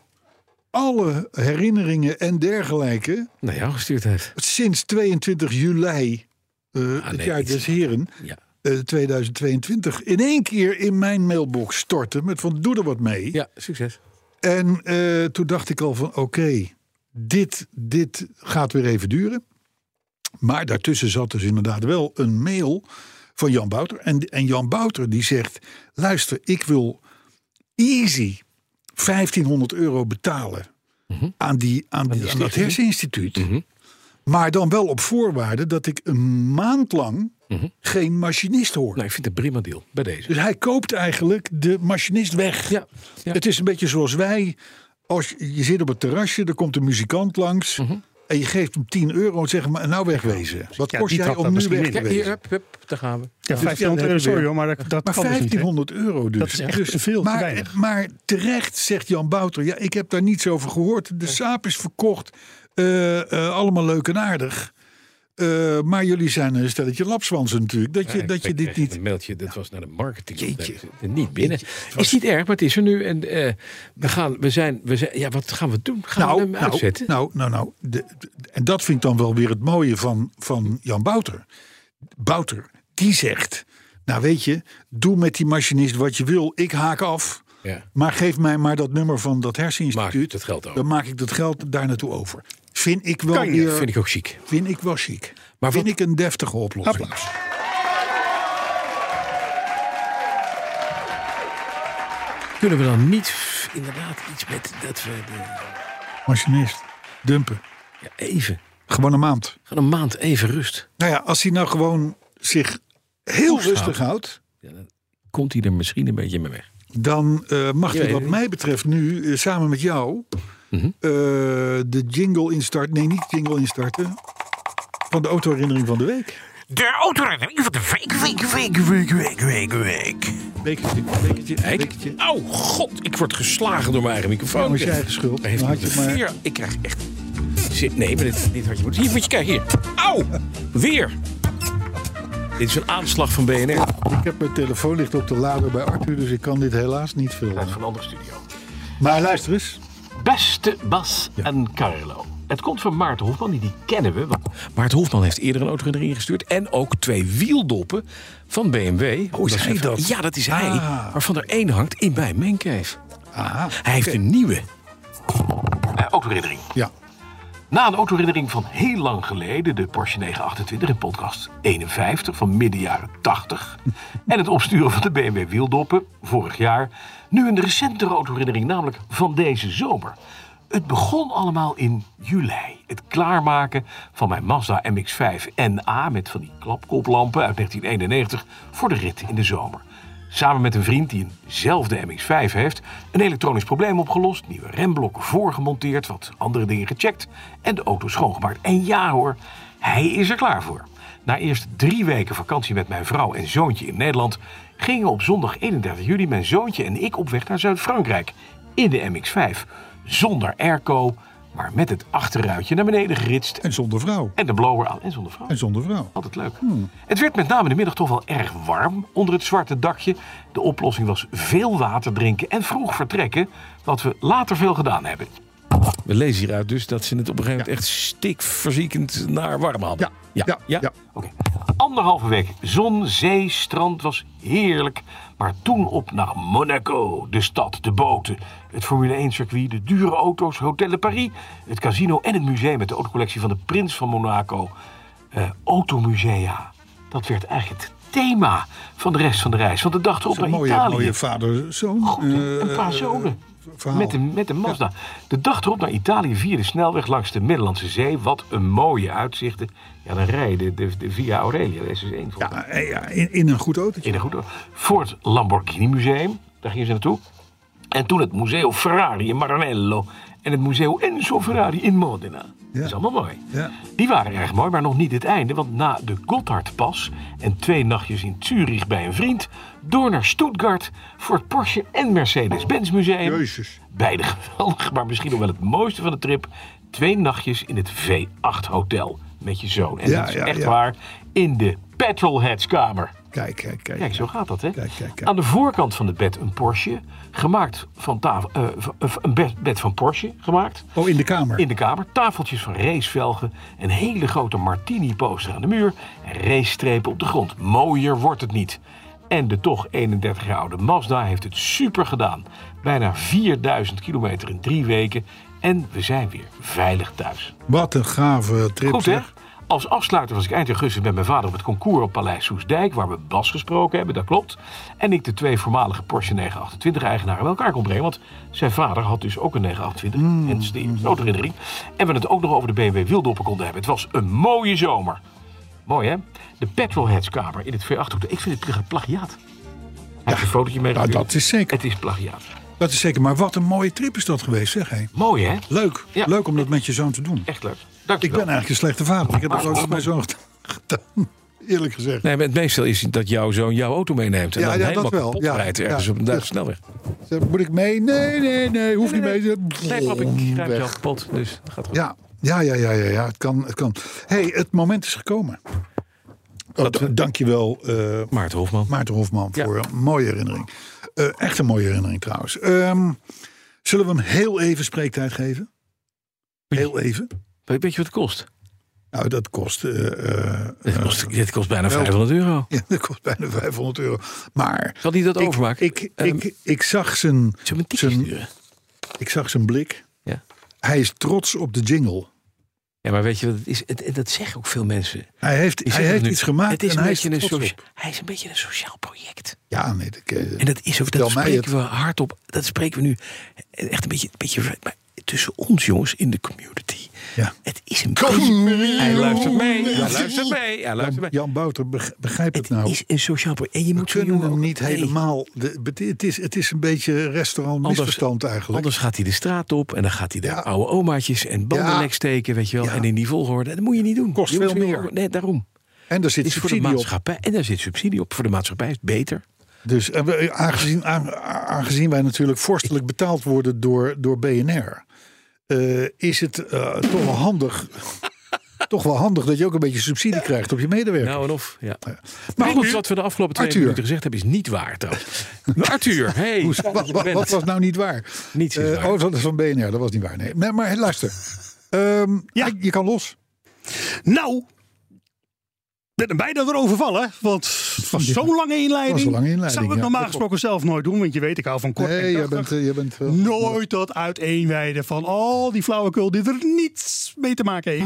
C: alle herinneringen en dergelijke...
B: Nou ja, gestuurd heeft.
C: sinds 22 juli, eh het
B: nee,
C: jaar
B: iets-
C: des heren...
B: Ja.
C: eh, 2022 in één keer in mijn mailbox storten met van doe er wat mee.
B: Ja, succes.
C: En eh, toen dacht ik al van oké, dit, dit gaat weer even duren. Maar daartussen zat dus inderdaad wel een mail van Jan Bouter. En, en Jan Bouter die zegt, luister, ik wil easy 1500 euro betalen aan, die, aan, die, aan dat
B: stichting.
C: herseninstituut. Maar dan wel op voorwaarde dat ik een maand lang geen machinist hoor.
B: Nou, ik vind het een prima deal bij deze.
C: Dus hij koopt eigenlijk de machinist weg.
B: Ja, ja.
C: Het is een beetje zoals wij. Als je, je zit op het terrasje, er komt een muzikant langs. En je geeft hem 10 euro en zegt maar, nou wegwezen. Wat
D: Mhm. Ja,
C: kost
D: die
C: jij
D: trapt
C: om
D: dat
C: nu
D: misschien
C: weg te
D: in.
B: Ja, hier,
C: wezen?
B: hup, hup, daar gaan we.
D: Ja, 1500 euro, sorry hoor, maar dat, dat
C: Maar
D: kan dus niet, hè?
C: 1500 euro dus.
D: Dat is echt
C: Dus-
D: veel te
C: maar,
D: weinig.
C: maar terecht zegt Jan Bouter, ja, ik heb daar niets over gehoord. De saap is verkocht, Eh, eh, allemaal leuk en aardig. Eh, maar jullie zijn een stelletje lapswansen natuurlijk. Dat je,
B: Ja,
C: dat je
B: ik
C: dit
B: kreeg
C: niet...
B: Een mailtje, dat was naar de marketing.
C: Jeetje.
B: Dat is Niet binnen. Is niet erg, maar het is er nu. En eh, we gaan, we zijn, we zijn, ja, wat gaan we doen? Gaan we hem uitzetten?
C: Nou, nou, nou. de- de- en dat vind ik dan wel weer het mooie van, van Jan Bouter. Bouter, die zegt... Nou weet je, doe met die machinist wat je wil. Ik haak af.
B: Ja.
C: Maar geef mij maar dat nummer van dat herseninstituut.
B: Maak dat geld over.
C: Dan maak ik dat geld daar naartoe over. Vind ik wel
D: Kan je,
C: weer...
B: vind ik ook chic.
C: Vind ik wel chic.
B: Maar
C: vind
B: wat-
C: ik een deftige oplossing.
D: Applaus.
B: Kunnen we dan niet f- inderdaad iets met dat we de-
C: Machinist, dumpen.
B: ja, even
C: Gewoon een maand.
B: gaan een maand even rust.
C: Nou ja, als hij nou gewoon zich heel
B: Koest
C: rustig houdt...
B: Komt hij er misschien een beetje mee weg?
C: dan eh, mag
B: Je
C: hij
B: weet
C: wat
B: het Mhm.
C: mij betreft nu eh, samen met jou Eh, de jingle instart. Nee, niet jingle instarten. Van de autoherinnering van de week.
E: De autorennering van de week, week, week, week, week, week, week.
C: Bekertje, bekertje, bekertje.
F: Oh god, ik word geslagen door mijn eigen
C: Dat
F: microfoon.
C: was je eigen schuld.
F: Heeft
C: Dan had je
F: niet
C: het maar-
F: Hier, ik krijg echt... Zit- Nee, maar dit, dit had je moeten... Hier, moet je kijken, hier. Au! Weer! Dit is een aanslag van BNR.
C: Ik heb mijn telefoon ligt op de lader bij Arthur, dus ik kan dit helaas niet filmen.
B: van een andere studio.
C: Maar luister eens.
B: Beste Bas en Carlo. Het komt van Maarten Hofman, die, die kennen we. want-
F: Maart Hofman heeft eerder een auto erin gestuurd. En ook twee wieldoppen van BMW. Hoe
C: is hij dat? Ah.
F: Ja, dat is hij. Waarvan er één hangt in bij Mencave.
C: Aha.
F: Hij heeft een nieuwe.
B: Eh, autoherinnering.
C: Ja.
B: Na een autoherinnering van heel lang geleden, de Porsche 928 in podcast 51 van midden jaren 80. en het opsturen van de BMW wieldoppen vorig jaar. Nu een recentere autoherinnering, namelijk van deze zomer. Het begon allemaal in juli. Het klaarmaken van mijn Mazda MX-5 NA met van die klapkoplampen uit 1991 voor de rit in de zomer. Samen met een vriend die eenzelfde MX-5 heeft, een elektronisch probleem opgelost, nieuwe remblokken voorgemonteerd, wat andere dingen gecheckt en de auto schoongemaakt. En ja hoor, hij is er klaar voor. Na eerst drie weken vakantie met mijn vrouw en zoontje in Nederland, gingen op zondag 31 juli mijn zoontje en ik op weg naar Zuid-Frankrijk in de MX-5. Zonder airco, maar met het achterruitje naar beneden geritst
C: En zonder vrouw.
B: en de blower aan en zonder vrouw.
C: En zonder vrouw.
B: Altijd leuk. Het werd met name in de middag toch wel erg warm onder het zwarte dakje. De oplossing was veel water drinken en vroeg vertrekken, wat we later veel gedaan hebben.
F: We lezen hieruit dus dat ze het op een gegeven moment echt stikverziekend naar warm hadden.
C: Ja. ja.
B: Oké. Anderhalve week zon, zee, strand was heerlijk. Maar toen op naar Monaco, de stad, de boten, het Formule 1-circuit, de dure auto's, Hotel de Paris, het casino en het museum met de autocollectie van de Prins van Monaco. Eh, automusea. Dat werd eigenlijk het thema van de rest van de reis. Want de dag erop
C: Zo'n
B: naar
C: mooie,
B: Italië.
C: mooie vader-zoon.
B: Goed, hè?
C: eh,
B: een paar zonen.
C: verhaal.
B: Met een, met een Mazda. De dag erop naar Italië via de snelweg langs de Middellandse Zee. Wat een mooie uitzichten. Ja, dan rijden de, de, de Via Aurelia. Dat is dus één van
C: Ja, eh, ja, in, in een goed autootje.
B: in een goed oor. Voor het Lamborghini Museum, daar gingen ze naartoe. En toen het Museo Ferrari in Maranello. En het Museo Enzo Ferrari in Modena. Dat is allemaal mooi.
C: Ja.
B: Die waren erg mooi, maar nog niet het einde. Want na de Gotthardpas en twee nachtjes in Zurich bij een vriend... door naar Stuttgart voor het Porsche en Mercedes-Benz Museum.
C: Jezus.
B: Beide geweldig, maar misschien nog wel het mooiste van de trip. Twee nachtjes in het V8 Hotel met je zoon. En
C: Ja,
B: dat is
C: ja,
B: echt
C: ja.
B: waar. In de Petrolheads kamer.
C: Kijk, kijk, kijk.
B: Kijk, zo gaat dat, hè?
C: Kijk, kijk, kijk.
B: Aan de voorkant van het bed een Porsche, gemaakt van tafel, eh, van- eh, een bed, bed van Porsche gemaakt.
C: Oh, in de kamer.
B: In de kamer tafeltjes van racevelgen, een hele grote martini-poster aan de muur en racestrepen op de grond. Mooier wordt het niet. En de toch 31 jaar oude Mazda heeft het super gedaan. Bijna 4000 kilometer in drie weken en we zijn weer veilig thuis.
C: Wat een gave trip.
B: Goed hè?
C: zeg.
B: Als afsluiter was ik eind augustus met mijn vader op het concours op Paleis Soesdijk, waar we Bas gesproken hebben, dat klopt. En ik de twee voormalige Porsche 928-eigenaren bij elkaar kon brengen, want zijn vader had dus ook een 928,
C: Mm.
B: hens de eerste autoherinnering. En we het ook nog over de BMW wieldoppen konden hebben. Het was een mooie zomer. Mooi hè? De Petrolheadskamer in het V8 hotel. Ik vind het plagiaat. Hij heeft een fotootje meegegeven.
C: dat is zeker.
B: Het is plagiaat.
C: Dat is zeker. Maar wat een mooie trip is dat geweest, zeg. Hé.
B: Mooi hè?
C: Leuk.
B: Ja.
C: Leuk om dat met je zoon te doen.
B: Echt leuk.
C: Ik
B: Dankjewel.
C: ben eigenlijk een slechte vader. Ik heb
F: Ah.
C: dat ook met mijn zoon gedaan. Eerlijk gezegd.
F: Nee, maar het meestal is dat jouw zoon jouw auto meeneemt. En
C: Ja,
F: dan
C: ja, dat
F: helemaal
C: wel.
F: kapot
C: Ja,
F: rijdt ergens
C: ja.
F: op een Duitse snelweg.
C: Zeg, Moet ik mee? Nee, nee, nee. Hoeft niet mee.
F: Nee, pap, ik rijd jou
C: Weg.
F: kapot. Dus dat gaat goed.
C: Ja, ja, ja, ja, ja, ja. Het kan, het kan. hey, het moment is gekomen. Oh, da- dankjewel, eh
F: Maarten Hofman.
C: Maarten Hofman,
F: Ja.
C: voor een mooie herinnering. Eh, echt een mooie herinnering trouwens. Ehm, zullen we hem heel even spreektijd geven? Heel even.
F: Weet weet je wat het kost?
C: Nou, dat kost, eh, eh,
F: Dit kost, dit kost bijna 500 euro.
C: ja, dat kost bijna 500 euro. Maar
F: Zal hij dat
C: ik,
F: overmaken?
C: ik,
F: Ehm,
C: ik, ik, zag zijn,
F: zullen we een tientje
C: zijn,
F: sturen?
C: ik zag zijn blik.
F: Ja.
C: Hij is trots op de jingle.
F: Ja, maar weet je wat het is? Het- en dat zeggen ook veel mensen. Die
C: Hij heeft, hij
F: zeggen
C: heeft
F: nu,
C: iets gemaakt
F: Het is
C: en
F: een
C: hij is
F: beetje een
C: trots op.
F: socia- hij is een beetje een sociaal project.
C: Ja, nee, dat, eh,
F: En dat is ook,
C: Vertel
F: dat
C: mij
F: spreken we hardop. Dat spreken we nu echt een beetje. Een beetje maar
B: tussen ons, jongens, in de community.
C: Ja.
B: Het is een beetje... Hij luistert mee, hij luistert mee, hij luistert
C: Jan,
B: mee.
C: Jan Bouter, beg- begrijp het,
B: Het
C: nou.
B: is een sociaal probleem. En je
C: we
B: moet zo'n
C: kunnen
B: jongen
C: hem
B: ook-
C: niet
B: Nee.
C: helemaal... de- bet- het, is, het is een beetje restaurant
B: Anders-
C: misverstand eigenlijk.
B: Anders gaat hij de straat op en dan gaat hij de
C: Ja.
B: oude omaatjes en banden
C: Ja.
B: lek steken, weet je wel.
C: Ja.
B: En in die volgorde. Dat moet je niet doen.
C: Kost
B: Je moet
C: veel
B: zo-
C: meer.
B: Nee, daarom.
C: en daar
B: Het
C: zit
B: is voor de
C: subsidie op.
B: maatschappij. En daar zit subsidie op. Voor de maatschappij is het beter.
C: Dus en we- aangezien, aan- aangezien wij natuurlijk vorstelijk betaald worden door, door BNR, eh, is het eh, toch wel handig. toch wel handig dat je ook een beetje subsidie krijgt op je medewerker.
B: Nou en of, ja. Maar
C: maar
B: alles
C: goed,
B: wat we de afgelopen twee
C: Arthur.
B: minuten gezegd hebben is niet waar trouwens. Arthur, hey,
C: Hoe-
B: fijn
D: dus
B: dat
C: wat,
B: je
C: wat-
B: bent.
C: wat was nou niet waar?
B: Niets is
C: Eh,
B: waar.
C: Oh, dat is van BNR, dat was niet waar. Nee, nee maar hey, luister. Ehm,
D: Ja.
C: Je kan los.
D: Nou, ik ben er bijna door overvallen, want het was
C: Ja.
D: zo'n lange inleiding.
C: Was een lange inleiding,
D: Zou ik
C: ja.
D: normaal gesproken zelf nooit doen, want je weet, ik hou van kort
C: Nee,
D: en
C: je
D: krachtig.
C: bent, eh, je bent wel-
D: Nooit dat uiteenwijden van al die flauwekul die er niets mee te maken heeft.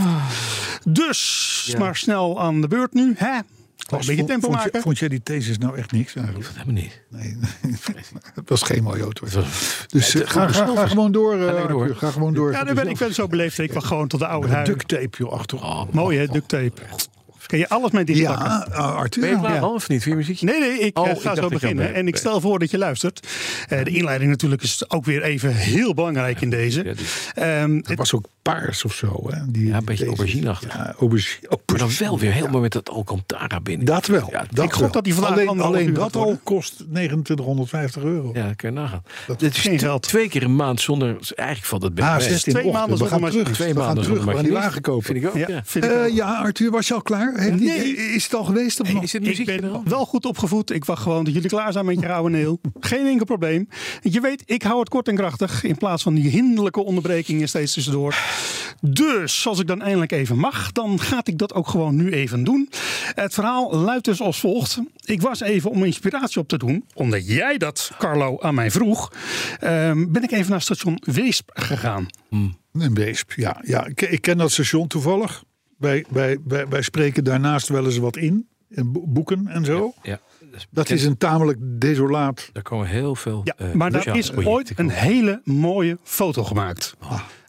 D: Dus, maar snel aan de beurt nu, hè? Een beetje
C: Vond-
D: tempo
C: vond, je-
D: maken.
C: Vond jij die thesis nou echt niks eigenlijk?
B: Helemaal niet.
C: Nee, het was geen mooi auto.
B: was-
C: Dus eh, ga, ga, ga gewoon door, eh,
B: lekker door.
C: Arthur. Ga gewoon door.
D: Ja, dan ben ik ben zo beleefd. Ik was gewoon tot de oude huid.
C: Duct tape, joh, achterop.
D: Mooi hè, duct tape. Kun je alles mee
C: ja,
D: dichtpakken?
C: eh, Arthur.
B: Ben je klaar
C: Ja.
B: al of niet? Voor je muziekje?
D: Nee, nee, ik
B: Oh,
D: eh,
B: ik
D: ga
B: dacht
D: zo
B: dat je al
D: beginnen.
B: bent.
D: En ik stel voor dat je luistert. Eh, de inleiding natuurlijk is ook weer even heel belangrijk in deze.
B: Ja, die-
D: Ehm,
C: Het was ook paars of zo. Hè? Die,
B: Ja, een beetje
C: deze-
B: aubergineachtig.
C: Ja, aubergine.
B: Maar dan
C: aubergine.
B: wel weer helemaal met dat Alcantara binnen.
C: Dat wel.
B: Ja,
C: dat
D: ik gok
C: wel.
D: dat die vandaag
C: alleen,
D: anderhalf
C: alleen
D: uur
C: dat
D: gaat worden.
C: al kost 2950 euro.
B: Ja, kun je nagaan. Dat
D: is geen
B: t-
D: geld.
B: Twee keer een maand zonder... Eigenlijk valt het best
C: Ah,
B: mee.
C: 16
D: Twee
C: ochtend.
D: maanden
C: We gaan
D: zonder
C: terug.
B: Twee
C: we gaan
B: maanden
C: terug. We
B: zonder
C: gaan die
B: machinist.
C: wagen kopen.
B: Vind ik ook, ja.
D: ja, vind ik
C: Eh,
D: ook.
C: ja, Arthur, was je al klaar? Heeft die-
D: Nee.
C: Is het al geweest of nog?
B: Is het
D: Ik
B: muziekje er al?
D: ben wel goed opgevoed. Ik wacht gewoon dat jullie klaar zijn met je oude neel. Geen enkel probleem. Je weet, ik hou het kort en krachtig. In plaats van die hinderlijke onderbrekingen steeds tussendoor. Dus, als ik dan eindelijk even mag, dan ga ik dat ook gewoon nu even doen. Het verhaal luidt dus als volgt. Ik was even om inspiratie op te doen, omdat jij dat, Carlo, aan mij vroeg. ehm, ben ik even naar station Weesp gegaan.
C: Een weesp, ja. ja ik, ik ken dat station toevallig. Wij, wij, wij, wij spreken daarnaast wel eens wat in. in bo- Boeken en zo.
B: Ja,
C: Dat is een tamelijk desolaat...
B: Daar komen heel veel...
D: Ja,
B: eh,
F: dus
D: maar daar
B: sociale
F: Oh,
D: is
B: projecten
D: ooit
B: komen.
D: een hele mooie foto gemaakt.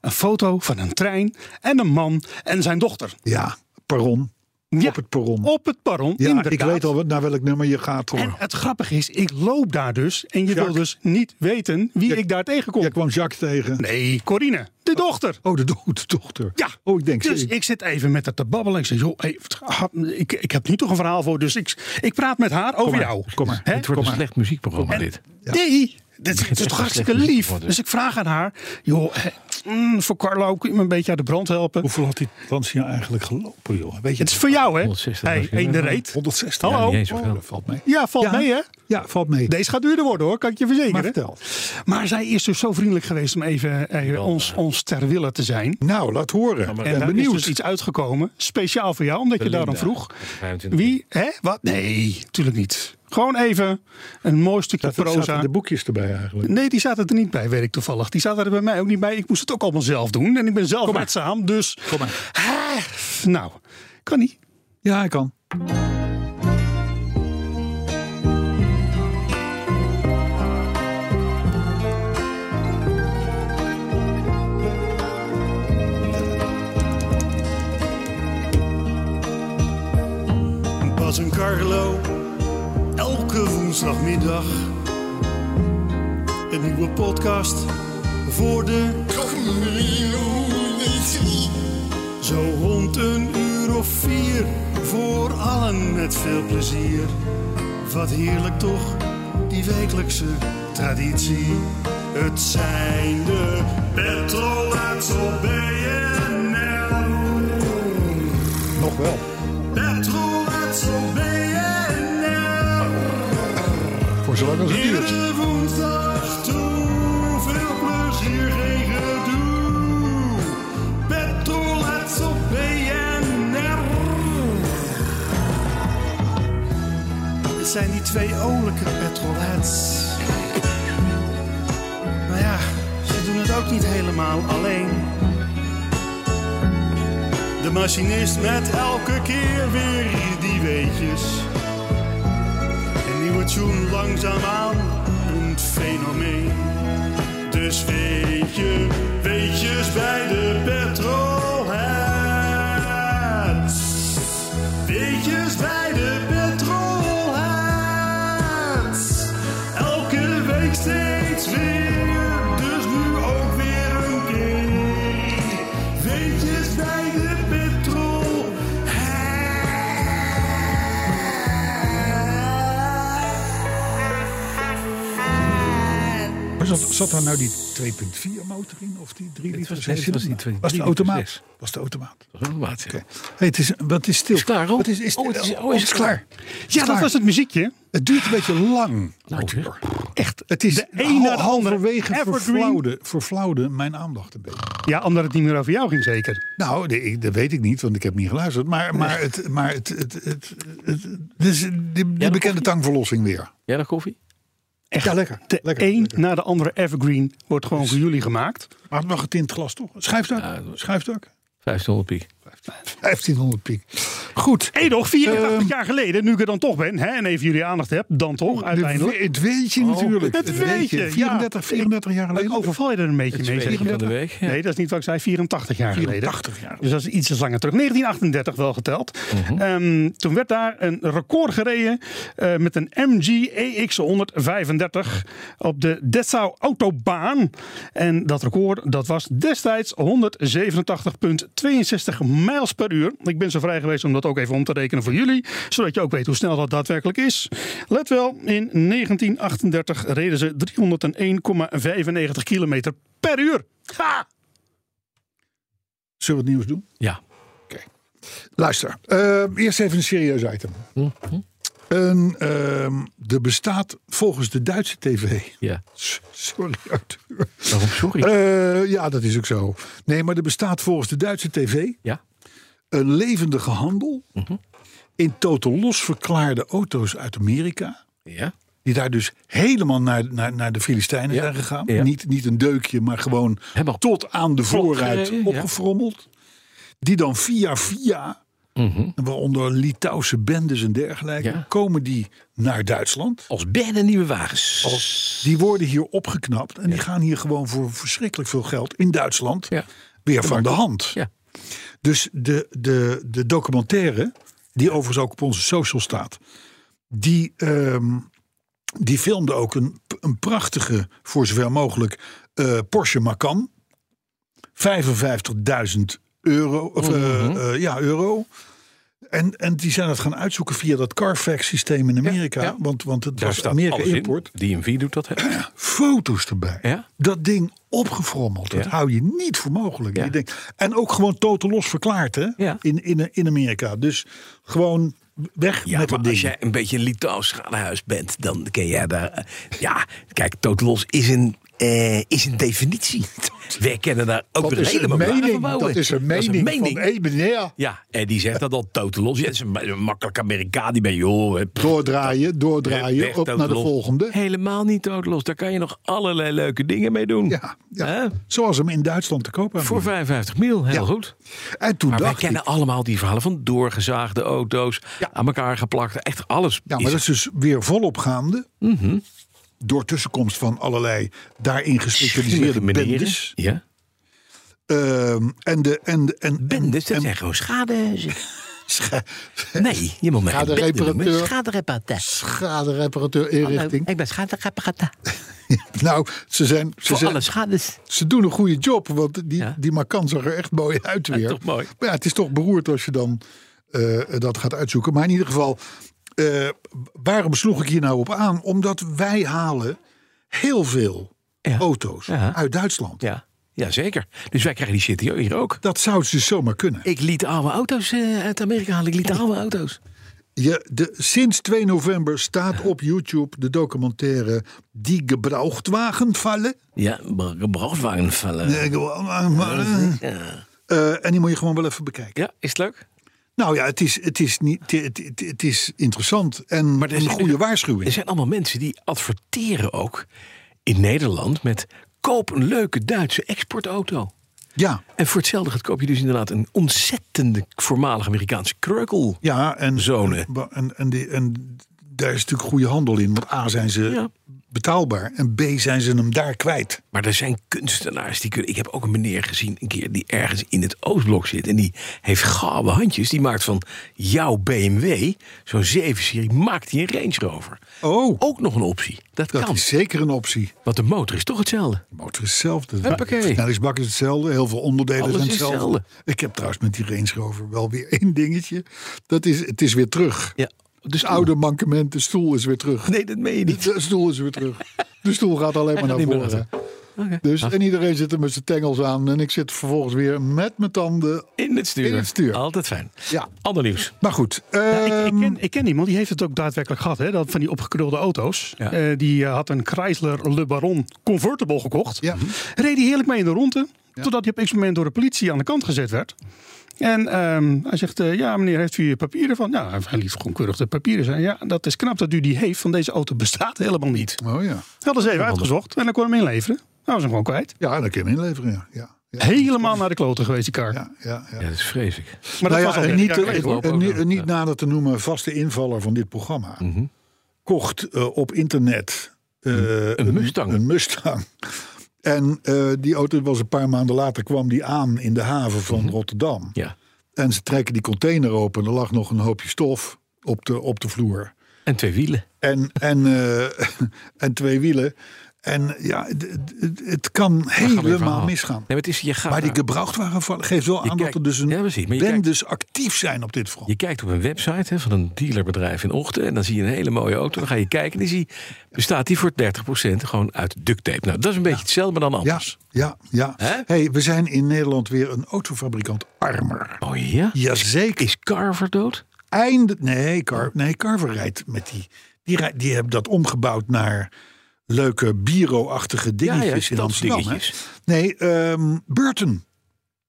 D: Een foto van een trein en een man en zijn dochter.
C: Ja, perron.
D: Ja,
C: Op het perron.
D: op het perron,
C: Ja,
D: inderdaad.
C: ik weet al wat- naar welk nummer je gaat hoor.
D: En het grappige is, ik loop daar dus en je wil
C: Jacques.
D: dus niet weten wie
C: Jij-
D: ik daar tegenkom.
C: Jij kwam Jacques tegen.
D: Nee, Corine, de dochter.
C: Oh, de, do- de dochter.
D: Ja,
C: Oh, ik denk
D: dus
C: ik-
D: ik zit even met haar te babbelen. Ik zeg, joh, hey, wat ga- ik, ik heb nu toch een verhaal voor, dus ik, ik praat met haar over jou.
C: kom maar.
D: Hè?
B: Het wordt een slecht muziekprogramma,
D: En-
B: dit.
D: Nee, dat is,
B: begint
D: toch
B: echt
D: hartstikke
B: een slecht
D: lief.
B: worden.
D: Dus ik vraag aan haar, joh, eh, mm, voor Carlo, kun je me een beetje uit de brand helpen?
C: Hoeveel had die Lancia eigenlijk gelopen, joh? Weet je,
D: Het is voor jou, hè?
B: 160
D: hey,
B: was je
D: één de
B: wel.
D: reet.
C: 160.
D: Hallo?
C: Ja,
B: niet eens zoveel.
C: dat valt mee.
D: Ja, valt
C: Ja.
D: mee, hè?
C: Ja, valt mee.
D: Deze gaat duurder worden, hoor, kan ik je
C: maar
D: verzekeren.
C: vertel.
D: Maar zij is dus zo vriendelijk geweest om even, eh, ons, ons ter wille te zijn.
C: Nou, laat horen. Ik
D: En
C: ben
D: daar
C: benieuwd.
D: is dus iets uitgekomen, speciaal voor jou, omdat je daarom vroeg.
B: 25.
D: Wie? Hè? Wat? Nee, natuurlijk niet. Gewoon even een mooi stukje
C: Dat
D: proza.
C: zaten de boekjes erbij eigenlijk.
D: Nee, die zaten er niet bij, weet ik toevallig. Die zaten er bij mij ook niet bij. Ik moest het ook allemaal zelf doen. En ik ben zelf redzaam, dus... Kom maar. nou, kan niet.
C: Ja, ik kan.
D: Bas en Carlo, elke woensdagmiddag. Een nieuwe podcast voor de... Zo rond een uur of vier, voor allen met veel plezier. Wat heerlijk toch, die wekelijkse traditie. Het zijn de Petrolheads op BNL.
C: Nog wel.
D: Petrolheads op BNL.
C: Voor zolang als het duurt.
D: Iedere woensdag toe, veel plezier, geen gedoe. Petrolheads op BNR. Het zijn die twee olijke petrolheads. Maar Nou ja, ze doen het ook niet helemaal alleen. De machinist met elke keer weer die weetjes. Een nieuwe tune langzaamaan een fenomeen. Dus weet je, weet je,
G: steeds weer, dus nu ook weer een keer. Weetjes bij de petrol.
C: Maar zat, zat daar nou die 2.4 motor in of die 3 liter?
B: was- nee, dit was niet 2.4,
C: was de
B: dit was
C: automaat.
B: zes.
C: Was de automaat.
B: Dat is wel een maat, ja.
C: Oké. Hey, het is, wat is stil?
B: Is klaar, Rob?
C: Wat is, is,
B: Oh, het is- oh, is
C: het
B: het
C: klaar.
D: Ja, dat was het muziekje.
C: Het duurt een beetje lang.
B: zeg.
C: Echt. Het is de
D: een na Nou, de andere
C: halverwege
D: evergreen.
C: verflauwde, verflauwde mijn aandacht een beetje.
D: Ja, omdat het niet meer over jou ging, zeker.
C: Nou, de- ik- dat weet ik niet, want ik heb niet geluisterd. Maar, maar, het, maar het, het, het, het, dus die, die
B: dat
C: bekende
B: koffie?
C: tangverlossing weer.
B: Jij nog koffie?
D: Echt,
C: Ja, lekker.
D: De
C: Lekker,
D: een
C: lekker.
D: na de andere Evergreen wordt gewoon voor jullie gemaakt.
C: Maar het wel getint glas, toch? Schrijfdak? Schrijfdak?
B: 1500 piek.
C: 1500 piek. Goed.
D: Edoch, 84
C: Ehm.
D: jaar geleden, nu ik er dan toch ben hè, en even jullie aandacht heb, dan toch uiteindelijk. Oh.
C: Het weet je natuurlijk.
D: het weetje, ja.
C: 34, 34 jaar
D: Ik
C: geleden.
D: overval Oh, je er een beetje mee. zeg.
B: Tweede van de week. Ja.
D: Nee, dat is niet wat ik zei, 84 jaar geleden.
C: 84 jaar.
D: Dus dat is iets langer terug. 1938 wel geteld. Ehm, toen werd daar een record gereden eh, met een MG EX 135 op de Dessau Autobaan. En dat record dat was destijds 187,62 mijls per uur. Ik ben zo vrij geweest om dat ook even om te rekenen voor jullie. Zodat je ook weet hoe snel dat daadwerkelijk is. Let wel, in 1938 reden ze 301,95 kilometer per uur. Ha!
C: Zullen we het nieuws doen?
B: Ja.
C: Luister, eh, eerst even een serieus item.
B: Mhm.
C: Een, ehm, er bestaat volgens de Duitse tv...
B: ja.
C: Sorry, Arthur.
B: Waarom sorry?
C: Eh, ja, dat is ook zo. Nee, maar er bestaat volgens de Duitse tv...
B: ja. Mhm.
C: een levendige handel... in totaal los verklaarde auto's uit Amerika...
B: Ja.
C: die daar dus helemaal naar, naar, naar de Filistijnen
B: Ja,
C: zijn gegaan.
B: ja.
C: Niet, niet een deukje, maar gewoon
B: Helemaal
C: tot aan de voorruit
B: gereden, ja.
C: opgefrommeld. Die dan via via, waaronder Litouwse bendes en dergelijke,
B: Mhm. Ja.
C: komen die naar Duitsland.
B: Als bijna nieuwe wagens.
C: Die worden hier opgeknapt en die gaan hier gewoon voor verschrikkelijk veel geld in Duitsland
B: Ja.
C: weer van de hand.
B: Ja.
C: Dus de, de, de documentaire, die overigens ook op onze social staat, die, ehm, die filmde ook een, een prachtige, voor zover mogelijk, eh, Porsche Macan. 55.000 euro. Of, eh,
B: Mhm.
C: eh, ja, euro. En, en die zijn dat gaan uitzoeken via dat Carfax systeem in Amerika.
B: ja.
C: Want, want het was
B: staat
C: Amerika
B: alles in.
C: import
B: DMV doet dat. hè?
C: foto's erbij.
B: Ja?
C: Dat ding opgefrommeld. Dat
B: Ja.
C: hou je niet voor mogelijk.
B: Ja.
C: Je denkt, en ook gewoon totaal los verklaard hè?
B: Ja.
C: In, in, in Amerika. Dus gewoon weg
F: Ja,
C: met dat
F: maar
C: ding.
F: als jij een beetje een Litouws schadehuis bent, dan ken jij daar... eh, Ja, kijk, Totalos is een, eh, is een definitie. Wij kennen daar ook
C: Dat
F: weer
C: is een
F: helemaal
C: mening,
F: aan verbouwen.
C: dat is een mening van één meneer.
F: Ja, en die zegt dat al Totalos. Ja, het is een ma- een makkelijk Amerikaan die bij joh... eh, pff,
C: Doordraaien, doordraaien,
F: weg,
C: op naar de
F: Totalos.
C: volgende.
F: Helemaal niet Totalos. Daar kan je nog allerlei leuke dingen mee doen.
C: Ja, ja.
F: Hè?
C: zoals hem in Duitsland te koop
B: Voor
C: aanbieden.
B: 55 mil.
C: Ja.
B: Heel goed.
C: En toen
F: Maar nou- wij
C: dacht ik,
F: kennen allemaal die verhalen van doorgezaagde auto's, aan elkaar geplakt, echt alles.
C: ja,
F: is Mhm.
C: maar dat
F: er.
C: is dus weer volop gaande. Door tussenkomst van allerlei daarin gespecialiseerde
F: Schimmige manieren.
C: bendes.
F: Ja.
C: Ehm, en de, en, de- en,
F: Bendes, dat
C: en,
F: zijn gewoon schade.
C: scha-
F: Nee, je moet mij
H: Ga de
F: geen bende noemen.
H: reparateur.
F: Schadereparateur.
H: Schadereparateur
F: Hallo,
H: inrichting.
F: ik ben schadereparateur.
C: nou, ze, zijn, ze,
F: Voor
C: zijn,
F: alle schades.
C: ze doen een goede job, want die,
F: Ja.
C: die Macan zag er echt mooi uit weer.
F: toch mooi.
C: Maar ja, het is toch beroerd als je dan eh, dat gaat uitzoeken. Maar in ieder geval, eh, waarom sloeg ik hier nou op aan? Omdat wij halen heel veel
F: Ja.
C: auto's
F: Ja.
C: uit Duitsland.
F: Ja. ja, zeker. Dus wij krijgen die CTO hier ook.
C: Dat zou dus zomaar kunnen.
F: Ik liet oude auto's eh, uit Amerika halen. Ik liet oude auto's.
C: Je, de, sinds 2 november staat op YouTube de documentaire Die Gebrauchtwagen vallen.
F: Ja, br- gebrauchtwagen vallen.
C: Eh, en die moet je gewoon wel even bekijken.
B: Ja, is het leuk?
C: Nou ja, het is, het is, niet, het, het, het is interessant en
F: Maar er
C: een
F: zijn-
C: goede
F: Er
C: waarschuwing.
F: zijn allemaal mensen die adverteren ook in Nederland met koop een leuke Duitse exportauto.
C: Ja,
F: En voor hetzelfde geld koop je dus inderdaad een ontzettende voormalig Amerikaanse kreukel.
C: ja en,
F: Zonen.
C: En, en, die, en daar is natuurlijk goede handel in. Want A zijn ze
F: Ja.
C: betaalbaar en B zijn ze hem daar kwijt.
F: Maar er zijn kunstenaars die kunnen. Ik heb ook een meneer gezien een keer die ergens in het Oostblok zit. En die heeft gave handjes. Die maakt van jouw BMW, zo'n 7-serie, maakt hij een Range Rover.
C: Oh.
F: Ook nog een optie. Dat,
C: Dat
F: kan.
C: is zeker een optie.
F: Want de motor is toch hetzelfde.
C: De motor is hetzelfde.
F: Huppakee.
C: De snelheidsbak is hetzelfde. Heel veel onderdelen
F: Alles
C: zijn
F: is
C: hetzelfde.
F: hetzelfde.
C: Ik heb trouwens met die Range Rover wel weer één dingetje. Dat is, het is weer terug.
F: Ja.
C: Dus oude mankement, de stoel is weer terug.
F: Nee, dat meen je niet.
C: De stoel is weer terug. De stoel gaat alleen maar
F: gaat
C: naar
F: niet meer
C: voren. Dus, en iedereen zit er met zijn tengels aan. En ik zit vervolgens weer met mijn tanden.
F: In het stuur.
C: In het stuur.
F: Altijd fijn.
C: Ja.
F: Ander nieuws.
C: Maar goed.
D: ik, ik,
C: ehm,
D: ken, ik ken iemand die heeft het ook daadwerkelijk gehad. Hè, dat van die opgekrulde auto's.
F: Ja.
D: Eh, die eh, had een Chrysler Le Baron Convertible gekocht.
C: Ja.
D: Reed hij heerlijk mee in de ronde. Totdat hij op een moment door de politie aan de kant gezet werd. En ehm, hij zegt, eh, ja meneer, heeft u papieren van? Ja, hij liet gewoon keurig de papieren zijn. Ja, dat is knap dat u die heeft, van deze auto bestaat helemaal niet.
C: Oh ja.
D: Hadden ze even uitgezocht en dan kon hij hem inleveren. Nou, was hem gewoon kwijt.
C: Ja, dat kun je hem inleveren. Ja. Ja. Ja.
D: Helemaal naar de kloten geweest, die kar.
C: Ja, ja, ja.
F: Ja, dat is vreselijk.
D: Maar dat
C: Nou
D: was
C: ja, en
D: al dertig
C: niet,
D: jaar geleden, hoor.
F: ook
C: en niet,
F: nog,
C: niet
F: ja. Mhm.
C: nader te noemen vaste invaller van dit programma. Kocht eh, op internet eh,
F: een Mustang.
C: Een Mustang. En eh, die auto was een paar maanden later kwam die aan in de haven van Rotterdam.
F: Mhm. Ja.
C: En ze trekken die container open. Er lag nog een hoopje stof op de, op de vloer.
F: En twee wielen.
C: En, en, eh, en twee wielen. En ja, d- d- d- het kan helemaal
F: verhaal.
C: misgaan.
F: Nee, maar het is, Dus je gaat
C: Maar die
F: daar-
C: gebrauchtwagenval geeft wel aan dat
F: Ah. kijkt-
C: er dus een
F: Ja, precies, maar je kijkt-
C: bendes actief zijn op dit front.
F: Je kijkt op een website hè, van een dealerbedrijf in Ochten. En dan zie je een hele mooie auto. Dan ga je kijken en dan zie je, bestaat die voor 30% gewoon uit duct tape. Nou, dat is een beetje hetzelfde, maar dan
C: Ja,
F: anders.
C: ja, ja.
F: dus- Hè?
C: Hey, we zijn in Nederland weer een autofabrikant armer.
F: Oh ja?
C: Jazeker.
F: Is Carver dood?
C: Einde, nee, Car, nee, Carver rijdt met die. Die, rij- die hebben dat omgebouwd naar leuke bureau-achtige dingetjes in Amsterdam. Hè?
F: stadsdingetjes.
C: Nee, ehm, Burton.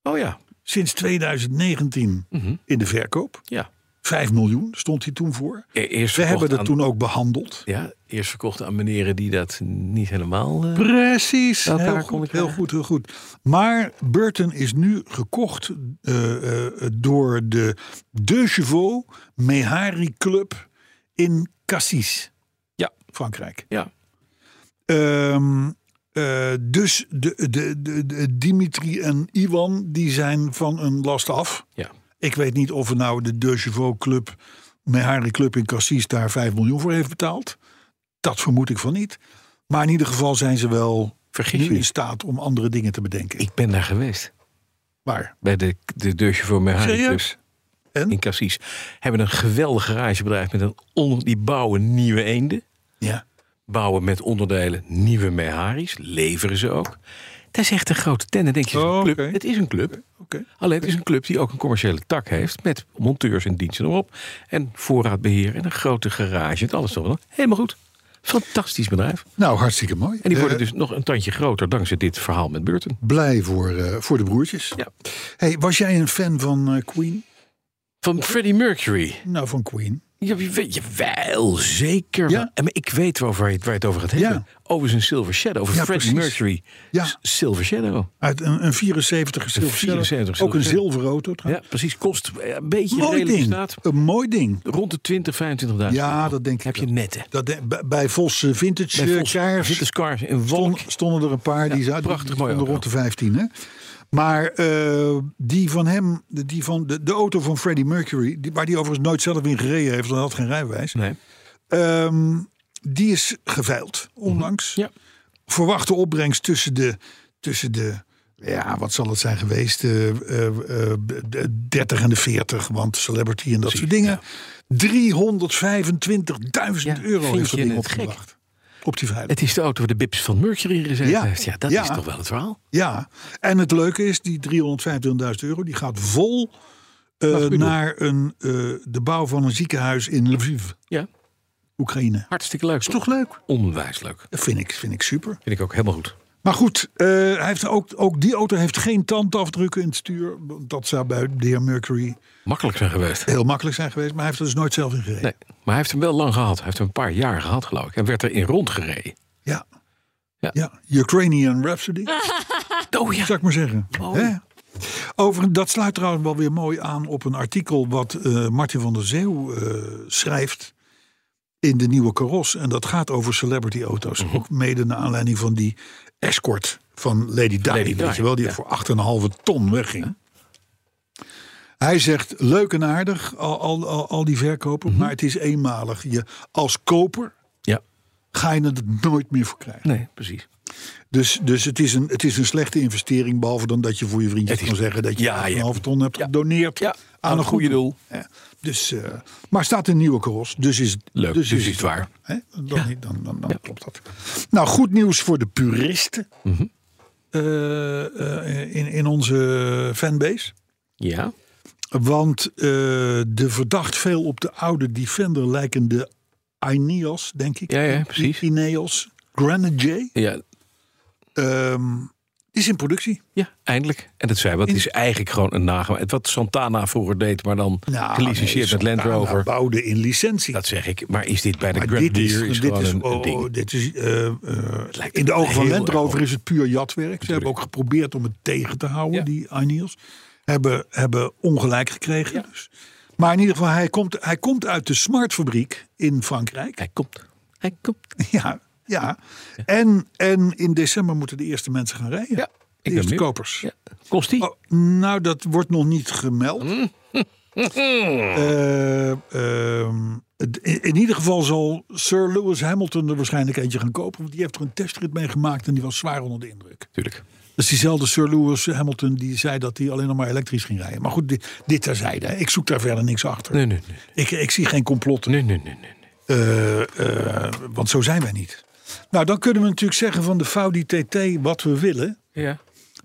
F: Oh ja.
C: Sinds 2019 in de verkoop.
F: Mhm. ja.
C: 5 miljoen stond hij toen voor.
F: E- Eerst
C: We
F: verkocht
C: hebben dat
F: aan-
C: toen ook behandeld.
F: Ja, eerst verkocht aan meneren die dat niet helemaal... eh,
C: Precies.
F: Elkaar
C: Heel
F: kon
C: goed,
F: ik
C: heel
F: krijgen.
C: goed, heel goed. Maar Burton is nu gekocht eh, eh, door de De Chevaux Mehari Club in Cassis.
F: Ja.
C: Frankrijk.
F: ja.
C: Ehm, eh, dus de, de, de, de Dimitri en Iwan die zijn van een last af.
F: ja.
C: Ik weet niet of er nou de De Chevaux Club, Mehari Club in Cassis, daar 5 miljoen voor heeft betaald. Dat vermoed ik van niet. Maar in ieder geval zijn ze wel
F: Vergis je
C: nu in
F: niet.
C: staat om andere dingen te bedenken.
F: Ik ben daar geweest.
C: Maar
F: Bij de, de deurtje voor mijn
C: Serieus? En?
F: In Cassis. Hebben een geweldig garagebedrijf met een... on- die bouwen nieuwe eenden.
C: ja,
F: bouwen met onderdelen nieuwe Meharis, leveren ze ook. Dat is echt een grote tent. Dan denk je, het is een
C: Oh,
F: club.
C: oké.
F: het is een club.
C: oké.
F: Alleen het is een club die ook een commerciële tak heeft... met monteurs en diensten erop en voorraadbeheer... en een grote garage en alles erop. Helemaal goed. Fantastisch bedrijf.
C: nou hartstikke mooi.
F: En die worden
C: Eh,
F: dus nog een tandje groter... dankzij dit verhaal met Burton.
C: blij voor, eh, voor de broertjes.
F: Ja.
C: Hey, was jij een fan van eh, Queen?
F: Van Freddie Mercury.
C: Nou, van Queen.
F: Ja, je weet je wel, zeker.
C: Ja.
F: wel. En Maar ik weet wel waar je, waar je het over gaat
C: Ja.
F: hebben. Over zijn Silver Shadow. Over
C: Ja,
F: Freddie
C: precies.
F: Mercury.
C: Ja.
F: S- Silver Shadow.
C: Uit een, een 74 zilver.
F: 74
C: Ook een
F: zilver.
C: zilveren auto
F: Ja,
C: trouwens.
F: precies. Kost eh, een beetje
C: Mooi
F: redelijk in
C: ding.
F: staat.
C: Een mooi ding.
F: Rond de 20, 25.000.
C: Ja, dat denk ik.
F: heb je
C: wel.
F: net, hè?
C: Dat de- bij- bij Vos eh, Vintage
F: Bij
C: eh,
F: Vos
C: kaars
F: zit de Scars in Wolk.
C: stond- stonden er een paar. die zaten
F: prachtig
C: die
F: mooi
C: stonden
F: ook
C: rond de 15. Hè? Maar eh, die van hem, de- die van de, de auto van Freddie Mercury, die, waar die overigens nooit zelf in gereden heeft, want hij had geen rijbewijs.
F: Nee.
C: Ehm, die is geveild onlangs.
F: Mhm, Ja.
C: Verwachte opbrengst tussen de, tussen de. Ja, wat zal het zijn geweest? eh, eh, eh, de 30 en de 40, want celebrity en dat soort dingen. 325.000 euro
F: vind
C: heeft dat
F: je
C: ding
F: het gek?
C: opgebracht. Op die veiling.
F: Het is de auto waar de Bips van Mercury gezeten
C: Ja.
F: heeft. Ja, dat
C: Ja.
F: is toch wel het verhaal?
C: Ja, en het leuke is, die 325.000 euro, die gaat vol eh, naar een, eh, de bouw van een ziekenhuis in Lviv,
F: Ja,
C: Oekraïne.
F: hartstikke leuk.
C: Toch leuk?
F: Onwijs leuk.
C: Dat vind ik, vind ik super.
F: Vind ik ook helemaal goed.
C: Maar goed, eh, hij heeft ook, ook die auto heeft geen tandafdrukken in het stuur. Dat zou bij de heer Mercury
F: Makkelijk zijn geweest.
C: heel makkelijk zijn geweest, maar hij heeft er dus nooit zelf in gereden.
F: Nee, maar hij heeft hem wel lang gehad. Hij heeft hem een paar jaar gehad, geloof ik. En werd erin rondgereden.
C: Ja.
F: Ja.
C: Ja. Ukrainian Rhapsody,
F: Oh ja.
C: zou ik maar zeggen. Hè? Over, dat sluit trouwens wel weer mooi aan op een artikel wat eh Martin van der Zeeuw eh, schrijft in de nieuwe karos. En dat gaat over celebrity auto's.
F: Mhm.
C: Ook mede naar aanleiding van die escort van Lady Di.
F: Lady
C: weet
F: Di,
C: je wel, die
F: ja.
C: voor 8,5 ton wegging. Hij zegt leuk en aardig, al, al, al, al die verkopen.
F: Mhm.
C: Maar het is eenmalig. Je, als koper
F: Ja.
C: ga je het nooit meer voor krijgen.
F: Nee, precies.
C: Dus, dus het, is een, het is een slechte investering. Behalve dan dat je voor je vriendjes
F: Het is-
C: kan zeggen dat je
F: Ja, ja.
C: een halve ton hebt gedoneerd
F: Ja,
C: aan een goede doel.
F: doel.
C: Ja, dus, eh, maar staat een nieuwe karos. Dus is,
F: Leuk, dus is het waar.
C: Hè? Dan, dan, dan, dan klopt dat. Nou, goed nieuws voor de puristen.
F: Mhm.
C: eh, eh, in, in onze fanbase.
F: Ja.
C: Want eh, de verdacht veel op de oude Defender lijkende Ineos, denk ik.
F: Ja, ja, precies.
C: Ineos Grenadier
F: Ja,
C: ehm, is in productie.
F: Ja, eindelijk. En dat zei, wat is eigenlijk gewoon een nagemaakt. Wat Santana vroeger deed, maar dan
C: Nou,
F: gelicenseerd
C: nee,
F: met Land
C: Santana
F: Rover.
C: bouwde in licentie.
F: Dat zeg ik. Maar is dit bij de
C: maar
F: Grand
C: dit is,
F: Deer is
C: dit
F: gewoon
C: is,
F: een,
C: oh,
F: een ding.
C: dit is eh, eh,
F: lijkt
C: in de ogen van
F: heel
C: Land
F: erg
C: Rover
F: op.
C: is het puur jatwerk. Ze hebben ook geprobeerd om het tegen te houden,
F: Ja.
C: die Ineos. Hebben, hebben ongelijk gekregen. Dus. Maar in ieder geval, hij komt, hij komt uit de smartfabriek in Frankrijk.
F: Hij komt. Hij komt.
C: Ja, ja. En, en in december moeten de eerste mensen gaan rijden.
F: Ja,
C: de
F: ben
C: eerste
F: benieuwd.
C: kopers.
F: Ja. Kost die?
C: Oh, nou, dat wordt nog niet gemeld. Eh, ehm, het- in, in ieder geval zal Sir Lewis Hamilton er waarschijnlijk eentje gaan kopen. Want die heeft er een testrit mee gemaakt en die was zwaar onder de indruk.
F: Tuurlijk.
C: Dat is diezelfde Sir Lewis Hamilton die zei dat hij alleen nog maar elektrisch ging rijden. Maar goed, dit, dit terzijde. hè. Ik zoek daar verder niks achter.
F: Nee, nee, nee.
C: Ik, ik zie geen complotten.
F: Nee, nee, nee, nee. nee.
C: Eh, eh, want zo zijn wij niet. Nou, dan kunnen we natuurlijk zeggen van de Faudi TT wat we willen.
F: Ja.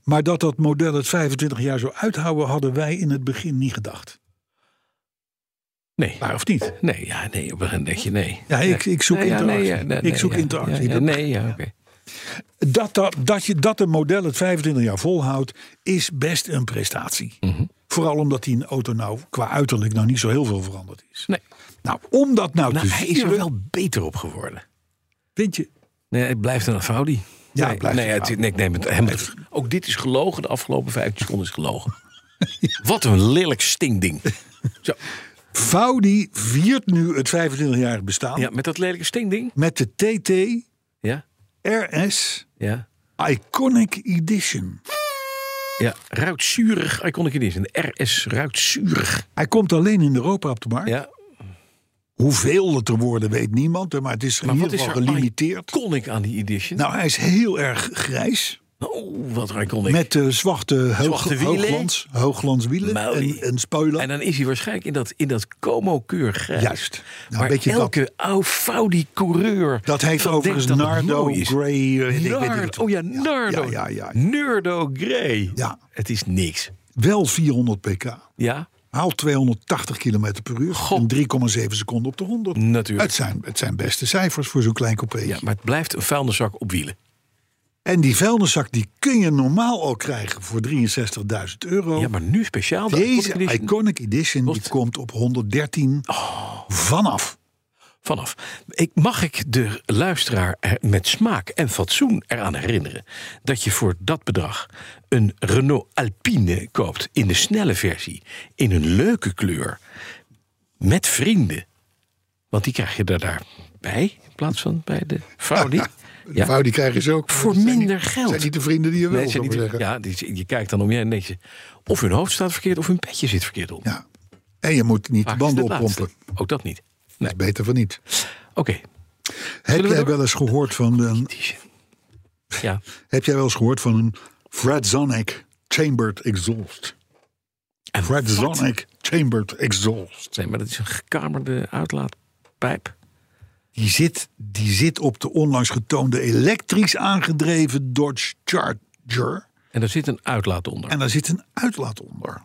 C: Maar dat dat model het 25 jaar zou uithouden, hadden wij in het begin niet gedacht.
F: Nee.
C: Waar of niet?
F: Nee, ja, nee. Op een gegeven moment denk je nee.
C: Ja, ik, ik zoek
F: Nee, ja,
C: interactie.
F: nee, ja, nee,
C: ik
F: nee,
C: zoek
F: ja.
C: interactie.
F: Ja, ja,
C: Dat-
F: nee, ja, oké.
C: dat, dat, dat, je, dat een model het 25 jaar volhoudt, is best een prestatie.
F: Mhm.
C: Vooral omdat die auto nou qua uiterlijk nou niet zo heel veel veranderd is.
F: Nee.
C: Nou, om dat nou,
F: Nou,
C: te
F: hij is er
C: vieren,
F: wel beter op geworden.
C: Vind je?
F: Nee, het blijft een Audi.
C: Ja,
F: nee,
C: het blijft
F: nee,
C: een
F: het, nee, ik neem het, hem het- Ook dit is gelogen. De afgelopen 15 seconden is gelogen. Wat een lelijk stinkding. Zo.
C: Faudi viert nu het 25 jaar bestaan
F: Ja, met dat lelijke stinkding.
C: met de TT
F: Ja,
C: RS
F: ja.
C: Iconic Edition.
F: Ja, ruikt zuurig. Iconic Edition. De RS ruikt zuurig.
C: Hij komt alleen in Europa op de markt.
F: Ja.
C: Hoeveel het er worden weet niemand, maar het is in
F: Maar
C: ieder
F: wat is
C: geval
F: er
C: gelimiteerd.
F: iconic aan die edition?
C: Nou, hij is heel erg grijs.
F: oh, wat iconic.
C: Met eh, zwarte, hoog,
F: Zwarte wielen.
C: hoogglans, hoogglanswielen
F: Mooi.
C: en, en spoiler.
F: En dan is hij waarschijnlijk in dat, in dat como-keur grijs.
C: Juist. Nou, een
F: maar
C: beetje dat.
F: elke oude foudi coureur
C: dat heet
F: denkt
C: overigens
F: dat het
C: Nardo
F: mooi
C: Gray.
F: is.
C: eh, weet ik- weet ik
F: Nardo,
C: het.
F: oh ja, Nardo.
C: Ja, ja, ja, ja.
F: Nardo Gray.
C: Ja.
F: Het is niks.
C: Wel 400 pk.
F: Ja,
C: Haal 280 km per uur
F: Goh.
C: en 3,7 seconden op de 100.
F: natuurlijk.
C: Het zijn, het zijn beste cijfers voor zo'n klein coupé.
F: Ja, maar het blijft een vuilniszak op wielen.
C: En die vuilniszak die kun je normaal al krijgen voor 63.000 euro.
F: Ja, maar nu speciaal. de
C: Deze
F: Iconic Edition.
C: Iconic Edition die
F: Kost-
C: komt op 113
F: Oh.
C: vanaf.
F: vanaf. Ik, mag ik de luisteraar er met smaak en fatsoen eraan herinneren dat je voor dat bedrag een Renault Alpine koopt in de snelle versie, in een leuke kleur, met vrienden. Want die krijg je er daarbij in plaats van bij de vrouw niet.
C: De vrouw die krijgen ze ook.
F: Voor
C: Dat zijn
F: minder
C: niet-
F: geld.
C: zijn niet de vrienden die je wil,
F: Nee, ze
C: zou ik
F: niet-
C: maar zeggen.
F: ja, die- je kijkt dan om je en denk je, of hun hoofd staat verkeerd of hun petje zit verkeerd op.
C: Ja. En je moet niet de
F: Vaak is
C: banden
F: het laatste.
C: oppompen.
F: Ook dat niet.
C: Dat is beter van niet.
F: Oké.
C: Heb
F: we
C: jij,
F: door?
C: wel eens gehoord van een,
F: Ja.
C: heb jij wel eens gehoord van een Fradzonic Chambered Exhaust?
F: En wat?
C: Fradzonic Chambered Exhaust.
F: Nee, maar dat is een gekamerde uitlaatpijp.
C: Die zit, die zit op de onlangs getoonde elektrisch aangedreven Dodge Charger.
F: En daar zit een uitlaat onder.
C: En daar zit een uitlaat onder.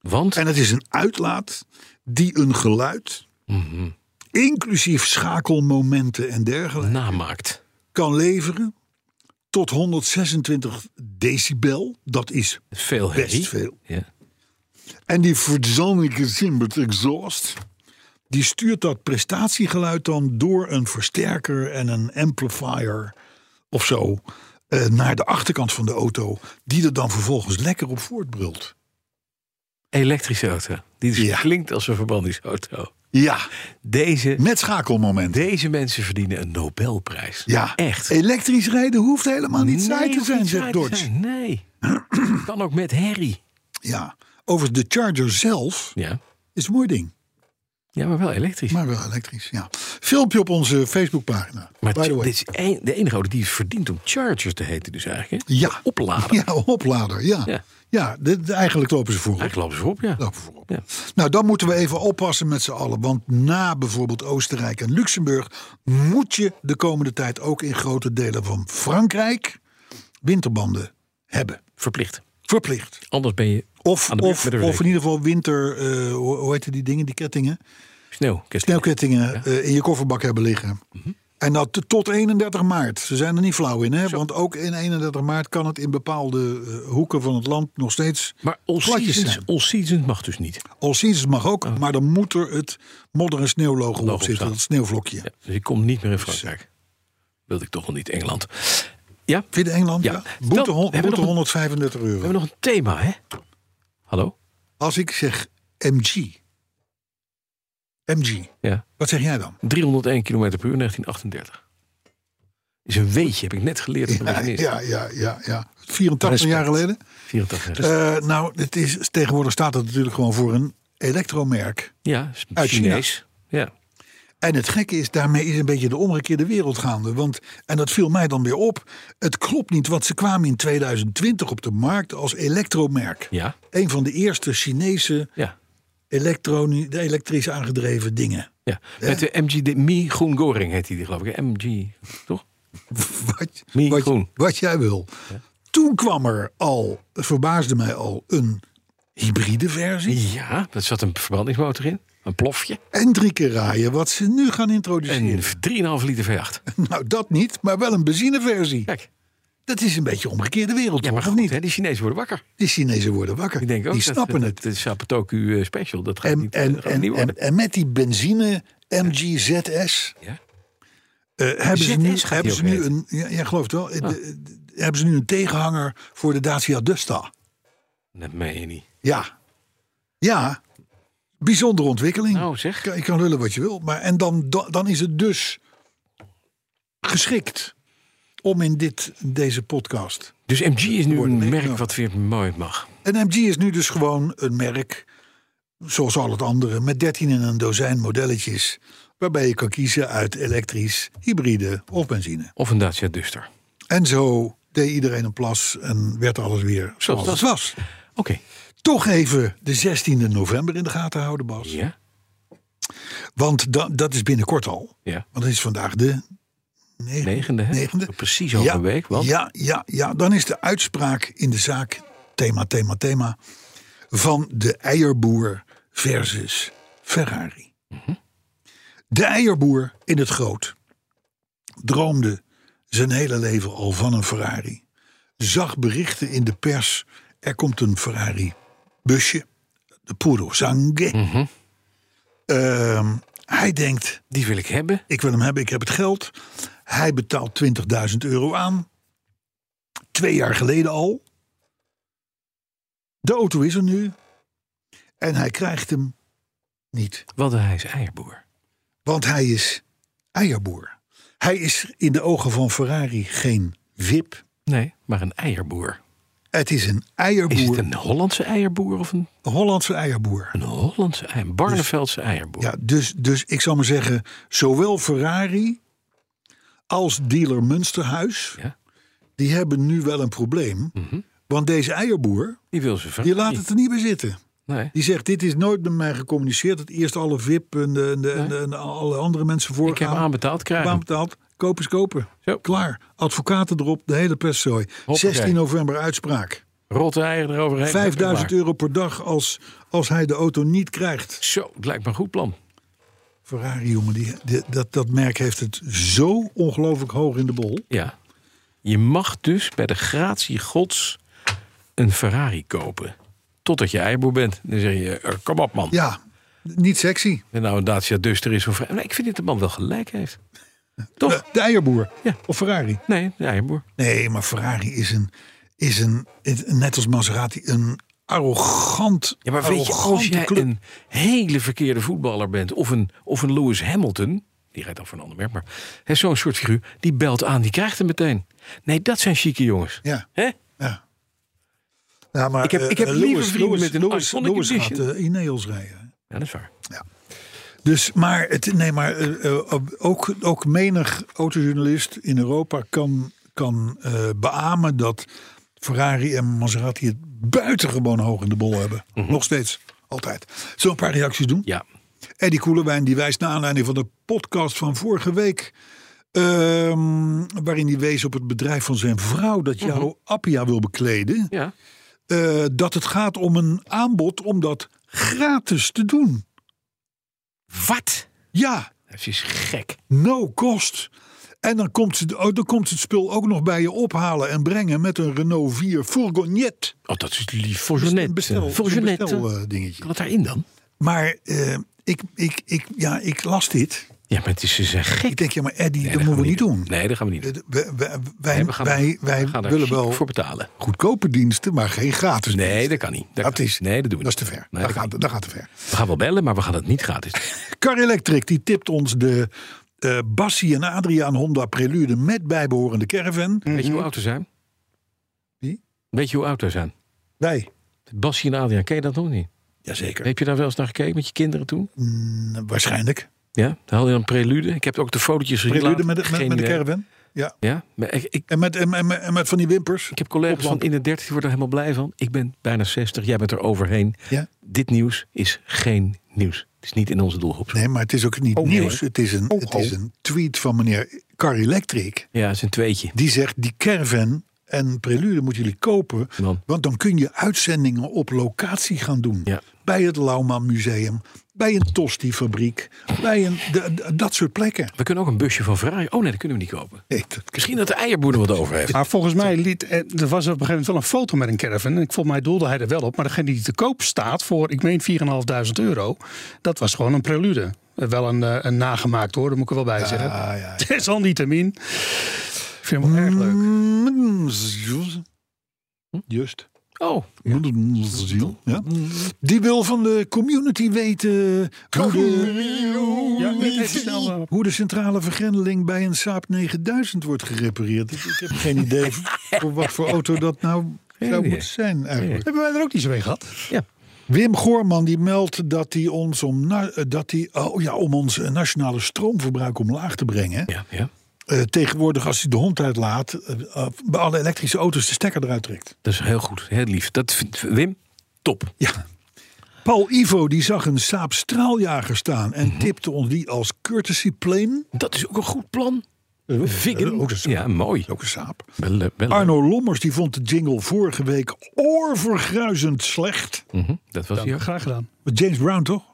F: Want,
C: En het is een uitlaat die een geluid, Mhm. inclusief schakelmomenten en dergelijke,
F: namaakt.
C: kan leveren tot 126 decibel. Dat is.
F: Veel
C: Best
F: herrie.
C: veel.
F: Ja.
C: En die verzannelijke Simbert Exhaust, die stuurt dat prestatiegeluid dan door een versterker en een amplifier of zo eh, naar de achterkant van de auto, die er dan vervolgens lekker op voortbrult.
F: Elektrische auto. Die dus
C: Ja.
F: klinkt als een verbrandingsauto.
C: Ja,
F: Deze,
C: met schakelmomenten.
F: deze mensen verdienen een Nobelprijs.
C: Ja,
F: Echt.
C: Elektrisch rijden hoeft helemaal niet saai te
F: hoeft
C: zijn,
F: niet saai
C: zegt
F: te
C: Dodge.
F: zijn, Nee. kan ook met herrie.
C: Ja. Overigens, de Charger zelf
F: Ja.
C: is een mooi ding.
F: ja, maar wel elektrisch.
C: Maar wel elektrisch, ja. Filmpje op onze Facebookpagina.
F: Maar
C: By the
F: dit
C: way.
F: is een- de enige auto die het verdient om Chargers te heten, dus eigenlijk. hè?
C: Ja.
F: Oplader.
C: Ja, oplader, ja. Ja,
F: Ja.
C: de- de- eigenlijk lopen ze voorop.
F: Eigenlijk lopen ze op, ja.
C: Lopen ze voorop.
F: Ja.
C: Nou, dan moeten we even oppassen met z'n allen. Want na bijvoorbeeld Oostenrijk en Luxemburg... moet je de komende tijd ook in grote delen van Frankrijk... winterbanden hebben.
F: Verplicht.
C: Verplicht.
F: Anders ben je
C: Of,
F: Aan de beurt
C: of,
F: met de
C: of in
F: verzekering.
C: ieder geval winter, eh, hoe hoe heet die dingen, die kettingen?
F: sneeuw.
C: Snelkettingen eh, in je kofferbak hebben liggen.
F: Mhm.
C: En dat t- tot 31 maart. Ze zijn er niet flauw in, hè? Want ook in 31 maart kan het in bepaalde eh, hoeken van het land nog steeds
F: Maar all
C: gladjes
F: seasons,
C: zijn.
F: all seasons mag dus niet.
C: All seasons mag ook, maar dan moet er het modder- en sneeuwlogo op zitten.
F: Oh. staan.
C: Dat sneeuwvlokje.
F: Ja, dus ik kom niet meer in Frankrijk. Wilde ik toch wel niet Engeland. Ja, we
C: Vind je Engeland?
F: Ja.
C: Ja.
F: Dan
C: Boete, hon-
F: hebben we
C: boete
F: nog een-
C: 135 euro.
F: hebben nog een thema, hè? Hallo?
C: Als ik zeg MG. MG.
F: Ja.
C: Wat zeg jij dan?
F: 301 km per uur, 1938. Is een weetje, heb ik net geleerd. van de
C: Ja,
F: machinist.
C: ja, ja. ja, ja. 84 jaar
F: Respect.
C: geleden?
F: 84.
C: Eh, nou, het is, tegenwoordig staat het natuurlijk gewoon voor een elektromerk.
F: ja, is
C: uit China.
F: Chinees. Ja.
C: En het gekke is, daarmee is een beetje de omgekeerde wereld gaande. Want, en dat viel mij dan weer op. Het klopt niet, want ze kwamen in 2020 op de markt als elektromerk.
F: Ja.
C: Een van de eerste Chinese
F: Ja.
C: elektroni- de elektrisch aangedreven dingen.
F: Ja, met de MG, de Mi Groen Goring heet die, geloof ik. hè? MG, toch?
C: Wat,
F: Mini
C: wat,
F: groen.
C: wat jij wil. Toen kwam er al, het verbaasde mij al, een hybride versie.
F: Ja, daar zat een verbrandingsmotor in. Een plofje.
C: En drie keer rijden, wat ze nu gaan
F: En
C: introduceren.
F: 3,5 liter V8.
C: Nou, dat niet, maar wel een benzineversie.
F: Kijk.
C: Dat is een beetje omgekeerde wereld,
F: Ja, maar
C: toch?
F: goed,
C: Of niet?
F: hè, die Chinezen worden wakker.
C: Die Chinezen worden wakker.
F: Ik denk ook
C: die
F: dat-
C: snappen
F: dat,
C: het.
F: De Sapatoku eh, Special, dat gaat
C: en,
F: niet,
C: en,
F: dat gaat
C: en,
F: niet
C: en,
F: worden.
C: en met die benzine MG ZS
F: Ja.
C: eh, hebben ze nu,
F: ZS gaat
C: hebben
F: die
C: ze
F: ook Ah.
C: nu een, ja, ja, geloof het wel, eh, de- de- hebben ze nu een tegenhanger voor de Dacia Duster.
F: Dat meen je niet.
C: Ja, ja, bijzondere ontwikkeling.
F: Nou, zeg.
C: Kan- Je kan lullen wat je wil, maar en dan, dan- dan is het dus geschikt om in dit, deze podcast
F: Dus MG is nu
C: Worden
F: een
C: meegenomen.
F: merk wat weer mooi mag.
C: En MG is nu dus gewoon een merk, zoals al het andere, met 13 en een dozijn modelletjes. Waarbij je kan kiezen uit elektrisch, hybride of benzine.
F: Of een Dacia Duster.
C: En zo deed iedereen een plas en werd alles weer zoals
F: dat.
C: het was.
F: Oké.
C: Toch even de 16e november in de gaten houden, Bas.
F: Ja?
C: Want da- dat is binnenkort al.
F: Ja.
C: Want het is vandaag de negen-
F: Negende, hè? Oh,
C: negende.
F: Precies over een week. Want
C: Ja, ja, ja, dan is de uitspraak in de zaak, thema, thema, thema, van de eierboer versus Ferrari.
F: Mhm.
C: De eierboer in het groot droomde zijn hele leven al van een Ferrari. Zag berichten in de pers, er komt een Ferrari busje, de Puro Sangue. Ehm, hij denkt,
F: die wil ik hebben.
C: ik wil hem hebben, ik heb het geld. Hij betaalt 20.000 euro aan. Twee jaar geleden al. De auto is er nu. En hij krijgt hem niet.
F: Want hij is eierboer.
C: Want hij is eierboer. Hij is in de ogen van Ferrari geen wip.
F: Nee, maar een eierboer.
C: Het is een eierboer.
F: Is het een Hollandse eierboer of een,
C: een Hollandse eierboer.
F: een Hollandse eier, een Barneveldse eierboer?
C: Ja, dus, dus ik zal maar zeggen, zowel Ferrari als dealer Munsterhuis,
F: Ja. Mhm.
C: die hebben nu wel een probleem. Want deze eierboer,
F: Die wil ze
C: die
F: veranderen.
C: laat het er niet bij zitten.
F: Nee.
C: Die zegt, dit is nooit met mij gecommuniceerd. Het eerst alle VIP en, de, en, de- en de- en alle andere mensen voor.
F: Ik heb aanbetaald krijgen.
C: Aanbetaald, koop is kopen.
F: Zo.
C: Klaar. Advocaten erop, de hele pestzooi.
F: Hoppakee.
C: 16 november uitspraak.
F: Rotte eieren eroverheen.
C: 5000
F: Klaar.
C: euro per dag als, als hij de auto niet krijgt.
F: Zo, het lijkt me een goed plan.
C: Ferrari, jongen, die, die- dat, dat merk heeft het zo ongelooflijk hoog in de bol.
F: Ja. Je mag dus bij de gratie gods een Ferrari kopen. Totdat je eierboer bent. Dan zeg je, eh, kom op man.
C: Ja, niet sexy.
F: En nou een Dacia Duster is zo'n Ferrari. Nee, ik vind dat de man wel gelijk heeft. Toch?
C: Eh, De eierboer.
F: Ja.
C: Of Ferrari.
F: Nee, de eierboer.
C: Nee, maar Ferrari is een, is een, het- net als Maserati, een arrogant.
F: Ja, maar weet je, als
C: arrogante
F: jij
C: club.
F: een hele verkeerde voetballer bent, of een, of een Lewis Hamilton, die rijdt dan voor een ander merk, maar hè, zo'n soort figuur, die belt aan, die krijgt hem meteen. Nee, dat zijn chique jongens.
C: Ja,
F: Hè?
C: ja. ja maar,
F: Ik heb-
C: eh,
F: ik heb
C: eh,
F: liever
C: Lewis-
F: vrienden
C: Lewis-
F: met een
C: Lewis-
F: iconic
C: Lewis gaat
F: edition.
C: eh, Ineos rijden.
F: Ja, dat is waar.
C: Dus, maar, het, nee, maar eh, eh, ook, ook menig autojournalist in Europa kan, kan eh, beamen dat Ferrari en Maserati het buitengewoon hoog in de bol hebben. Nog steeds, altijd. Zullen we een paar reacties doen?
F: Mhm. Ja.
C: Eddie Koelewijn die wijst naar aanleiding van de podcast van vorige week. ehm, waarin hij wees op het bedrijf van zijn vrouw dat jouw Appia wil bekleden.
F: Mhm. ja.
C: eh, dat het gaat om een aanbod om dat gratis te doen.
F: Wat?
C: Ja,
F: Dat is gek.
C: no cost. En dan komt, ze, oh, dan komt het spul ook nog bij je ophalen en brengen met een Renault 4 Fourgonnet.
F: Oh, dat is lief.
C: Een
F: Fourgonette.
C: bestel, een
F: Fourgonette.
C: bestel eh, dingetje.
F: Kan het daarin dan?
C: Maar eh, ik, ik, ik, ja, ik las dit.
F: Ja, maar het is, ze zijn gek.
C: Ik denk, ja, maar Eddie,
F: Nee,
C: dat
F: gaan
C: moeten we niet doen.
F: Nee, dat gaan we niet doen.
C: Eh, we- we- Wij,
F: Nee, we gaan,
C: wij, wij
F: we gaan daar
C: willen
F: chic
C: wel
F: voor betalen.
C: goedkope diensten, maar geen gratis
F: Nee,
C: diensten.
F: dat kan niet. Dat,
C: Dat
F: kan
C: is-
F: niet. nee, dat doen we
C: Dat is te
F: niet.
C: ver. dat,
F: Nee, dat kan
C: gaat,
F: niet.
C: dat gaat te ver.
F: We gaan wel bellen, maar we gaan het niet gratis doen.
C: Car Electric die tipt ons de eh Bassi en Adriaan Honda Prelude met bijbehorende caravan.
F: Weet
D: Mhm.
F: je hoe oud we zijn?
C: Wie?
F: Weet je hoe oud we zijn?
C: Wij.
F: Bassie en Adriaan, ken je dat nog niet?
C: Jazeker.
F: Heb je daar wel eens naar gekeken met je kinderen toen?
C: Mm, waarschijnlijk.
F: Ja, dan hadden we een prelude. Ik heb ook de fotootjes gezien.
C: Prelude
F: later.
C: met, de- met,
F: Geen
C: met de
F: idee.
C: caravan. Ja.
F: Ja, maar ik, ik,
C: En met, en, en, en met van die wimpers.
F: ik heb collega's van in de 30 die worden er helemaal blij van. Ik ben bijna 60, jij bent er overheen.
C: Ja.
F: Dit nieuws is geen nieuws. Het is niet in onze doelgroep.
C: Nee, maar het is ook
F: Oh,
C: niet nieuws. Het is, een, het is een tweet van meneer Car Electric.
F: Ja, het is een tweetje.
C: Die zegt, die caravan en prelude moeten jullie kopen.
F: Man.
C: Want dan kun je uitzendingen op locatie gaan doen.
F: Ja.
C: Bij het Lauwman Museum. Bij een Tosti-fabriek. Bij een, de- de- dat soort plekken.
F: We kunnen ook een busje van Ferrari. Oh nee, dat kunnen we niet kopen.
C: Nee, dat-
F: Misschien dat de eierboer er wat over heeft.
D: Maar volgens mij liet, eh, er was op een gegeven moment wel een foto met een caravan. En ik volgens mij doelde hij er wel op. Maar degene die te koop staat voor, ik meen 4.500 euro, dat was gewoon een prelude. Eh, Wel een, eh, een nagemaakt hoor, dat moet ik er wel bij zeggen.
C: Ah, ja.
D: Desalniettemin. Ik vind hem wel erg leuk.
C: Mm, Juist. Juist.
F: Oh,
C: Mm, ziel, Ja. Die wil van de community weten hoe de,
D: Ja, dit heeft snel, eh,
C: hoe de centrale vergrendeling bij een Saab 9000 wordt gerepareerd. Ik, ik heb geen idee voor wat voor auto dat nou
F: idee.
C: zou moeten zijn eigenlijk.
D: Hebben wij er ook niet zo mee gehad?
F: ja.
C: Wim Goorman die meldt dat hij ons om, na- eh, dat hij, oh ja, om ons eh, nationale stroomverbruik omlaag te brengen.
F: Ja, ja.
C: eh, tegenwoordig als hij de hond uitlaat, eh, eh, bij alle elektrische auto's de stekker eruit trekt.
F: Dat is heel goed. Heel lief. Dat vindt Wim top.
C: Ja. Paul Ivo die zag een Saab straaljager staan en tipte ons die als courtesy plane.
F: Mhm.
C: Eh,
F: Dat is ook een goed plan. Viggen.
C: ook een Saab.
F: ja, mooi.
C: Ook een Saab.
F: Wel, eh, wel, eh,
C: Arno Lommers die vond de jingle vorige week oorvergruizend slecht.
F: mhm, Dat was hij
D: eh, Ja,
F: ook.
D: graag gedaan.
C: Met James Brown toch?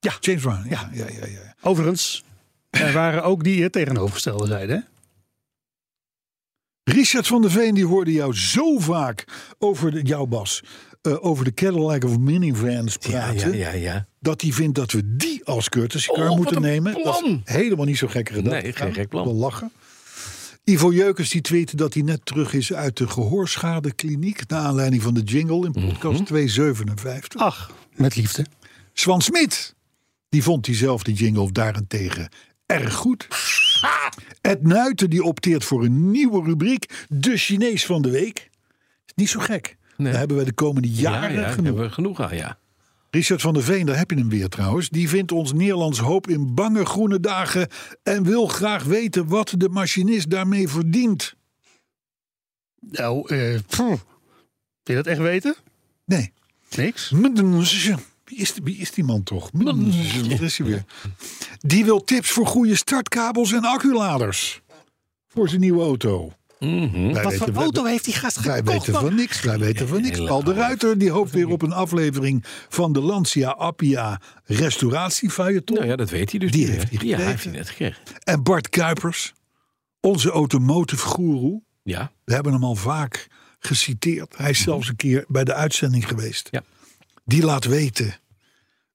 D: Ja.
C: James Brown. Ja, ja, ja. ja.
D: Overigens, er waren ook die het tegenovergestelde zeiden. hè?
C: Richard van der Veen die hoorde jou zo vaak over de, jouw Bas. eh, over de Cadillac of minivans
F: Ja,
C: praten.
F: ja, ja, ja.
C: Dat hij vindt dat we die als courtesy car
F: Oh, wat
C: moeten
F: een
C: nemen. Dat
F: plan.
C: is helemaal niet zo gek gedaan.
F: Nee, geen gek plan.
C: Wel lachen. Ivo Jeukens die tweette dat hij net terug is uit de gehoorschade-kliniek. Naar aanleiding van de jingle in
F: Mhm.
C: podcast 257.
D: Ach, met liefde.
C: Swan Smit, die vond diezelfde jingle daarentegen erg goed. Ed Nuiten die opteert voor een nieuwe rubriek. De Chinees van de Week. Is niet zo gek. Daar hebben we de komende
F: Ja,
C: jaren
F: ja, daar
C: genoeg.
F: hebben we genoeg aan, ja.
C: Richard van der Veen, daar heb je hem weer trouwens. Die vindt ons Nederlands hoop in bange groene dagen. En wil graag weten wat de machinist daarmee verdient.
D: Nou, eh, pff.
C: Hm.
D: wil je dat echt weten?
C: Nee.
D: Niks.
C: Hm. Mdnzje. Wie is, wie is die man toch? Mdnzje, Daar is hij weer. Die wil tips voor goede startkabels en acculaders. Voor zijn nieuwe auto.
F: Mhm.
C: Wij weten- wij-
D: heeft die gast
C: Wij weten van niks, wij weten van niks. Al de Ruiter die hoopt weer op een aflevering van de Lancia Appia restauratie
F: Nou ja, dat weet hij dus.
C: Die
F: nu, hè.
C: heeft hij
F: Ja, hij heeft
C: gekregen.
F: hij net gekregen.
C: En Bart Kuipers, onze automotive guru.
F: Ja,
C: We hebben hem al vaak geciteerd. Hij is zelfs een keer bij de uitzending geweest.
F: Ja.
C: Die laat weten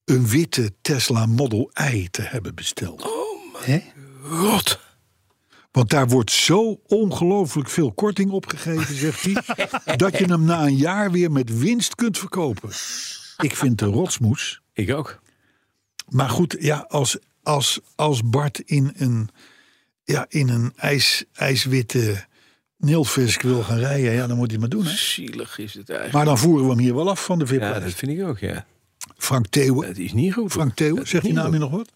C: een
F: Oh,
C: witte Tesla Model I te hebben besteld.
F: rot.
C: Want daar wordt zo ongelooflijk veel korting opgegeven, zegt hij. dat je hem na een jaar weer met winst kunt verkopen. Ik vind de rotsmoes.
F: Ik ook.
C: Maar goed, ja, als, als, als Bart in een, ja, in een ijs, ijswitte nilfisk wil gaan rijden, ja, dan moet hij het maar doen. Hè?
F: Zielig is het eigenlijk.
C: Maar dan voeren we hem hier wel af van de vip
F: ja, dat vind ik ook, ja.
C: Frank Theeuwen.
F: Het is niet goed.
C: Frank Theeuwen, zegt die naam je nog wat?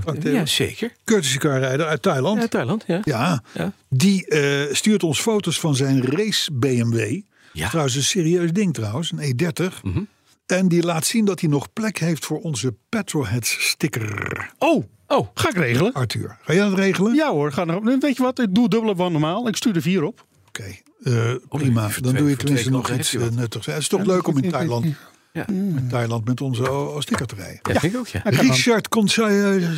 F: Frank
C: Theo.
F: Ja, zeker.
C: Courtesy rijder uit Thailand.
F: Ja, Thailand, ja.
C: Ja,
F: Ja.
C: die eh, stuurt ons foto's van zijn race BMW.
F: Ja. Mhm.
C: Trouwens, een serieus ding trouwens, een E30. En die laat zien dat hij nog plek heeft voor onze Petrolheads sticker.
D: Oh,
F: Oh,
D: ga ik regelen.
C: Arthur, ga jij dat regelen?
D: Ja hoor, ga erop. Weet je wat, ik doe dubbele van normaal. Ik stuur er vier op.
C: Oké, eh, prima.
F: voor
C: Dan
F: Oh, twee-
C: doe je
F: voor twee
C: tenminste nog
F: knoppen
C: iets
F: heb je
C: eh, nuttigs. Het is toch leuk om in Thailand,
F: Ja.
C: in Thailand met onze o- o- sticker te rijden.
F: ja, vind ik ook, ja.
C: Richard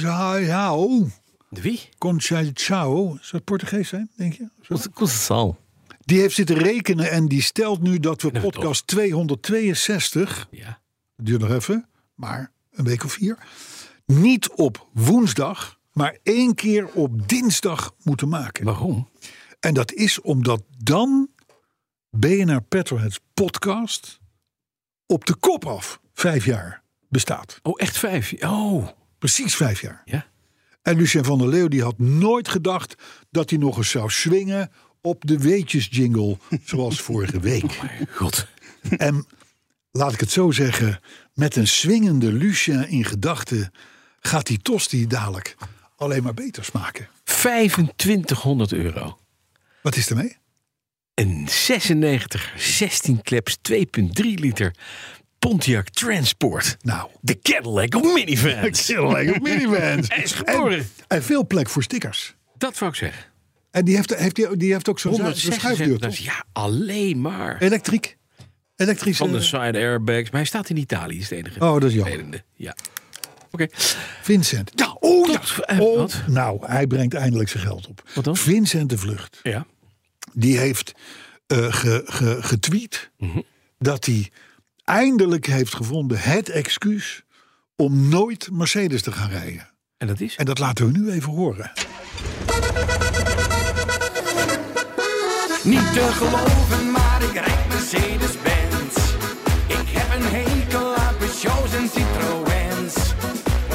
C: Conceição.
F: De wie?
C: Conceição. Zou het Portugees zijn, denk je?
F: Koestal.
C: Die heeft zitten rekenen en die stelt nu dat we
F: dat we
C: podcast 262,
F: Ja.
C: het duurt nog even, maar een week of vier, niet op woensdag, maar één keer op dinsdag moeten maken.
F: Waarom?
C: En dat is omdat dan BNR Petrolheads podcast op de kop af vijf jaar bestaat.
F: Oh, echt vijf? Oh,
C: Precies vijf jaar.
F: ja.
C: En Lucien van der Leeuw die had nooit gedacht dat hij nog eens zou swingen op de weetjes jingle zoals vorige week.
F: Oh God.
C: En laat ik het zo zeggen, met een swingende Lucia in gedachten gaat die tosti dadelijk alleen maar beter smaken.
F: 2500 euro.
C: Wat is ermee?
F: Een 96 16 kleps 2,3 liter Pontiac Transport.
C: Nou.
F: De Cadillac of minivans.
C: Lekker minivans.
F: Hij is geboren.
C: En, en veel plek voor stickers.
F: Dat wou ik zeggen.
C: En die heeft, heeft, die, die heeft ook zo'n zo'n
F: 166
C: schuifdeur,
F: dat is-
C: toch?
F: Ja, alleen maar.
C: Elektriek. Elektrische.
F: Van de side airbags. Maar hij staat in Italië, is het enige.
C: Oh, dat is jammer.
F: vervelende. Ja. Oké.
C: Vincent.
F: Nou, oh,
C: Oh,
F: wat?
C: nou, hij brengt eindelijk zijn geld op.
F: Wat dan?
C: Vincent de Vlucht.
F: Ja.
C: die heeft eh, ge- ge- getweet
F: Mhm.
C: dat hij eindelijk heeft gevonden het excuus om nooit Mercedes te gaan rijden.
F: En dat is?
C: En dat laten we nu even horen.
I: Niet te geloven, maar ik rijd Mercedes-Benz. Ik heb een hekel aan Peugeots en Citroëns.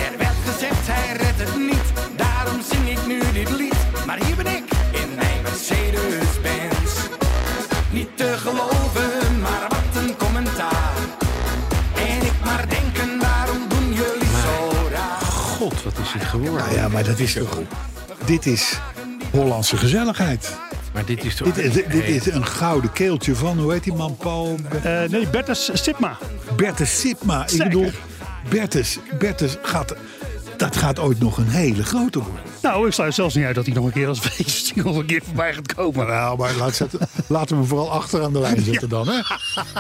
I: Er werd gezegd, hij redt het niet. Daarom zing ik nu dit lied. Maar hier ben ik, in mijn Mercedes-Benz. Niet te geloven, maar wat een commentaar. En ik maar denken, waarom doen jullie zo raar?
F: God, wat is het geworden?
C: Nou ja, maar dat is toch. Dit is Hollandse gezelligheid.
F: Maar dit is toch...
C: Dit, is- dit is een gouden keeltje van, hoe heet die man, Paul? Ber-
D: Eh, nee, Bertus Sipma.
C: Bertus Sipma. Ik
D: Zeker.
C: bedoel, Bertus, Bertus gaat. Dat gaat ooit nog een hele grote worden.
D: Nou, ik sluit zelfs niet uit dat hij nog een keer als feest nog een keer voorbij gaat komen.
C: Nou, maar laat zetten, laten we hem vooral achter aan de lijn zetten dan. Hè?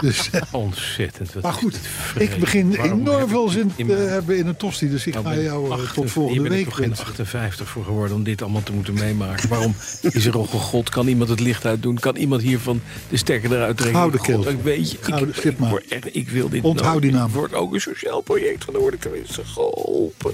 C: Dus,
F: Ontzettend. wat
C: Maar
F: is
C: goed,
F: dit vreselijk.
C: ik begin
F: Waarom heb
C: enorm
F: ik
C: veel
F: dit
C: zin
F: in
C: te
F: mijn-
C: hebben in een tosti. Dus ik
F: Nou
C: ga
F: ben ik
C: jou eh,
F: 58,
C: tot volgende
F: Hier ben
C: week
F: ik toch geen
C: wensen.
F: 58 voor geworden om dit allemaal te moeten meemaken. Waarom is er al gegod? Kan iemand het licht uitdoen? Kan iemand hiervan de stekker eruit trekken?
C: Gouden
F: God,
C: keel.
F: ik weet je, ik,
C: Gouden
F: ik,
C: Sipma.
F: word echt- Nou, ik wil dit
C: Onthoud
F: nooit.
C: die naam.
F: Het wordt ook een sociaal project van de word ik tenminste geholpen.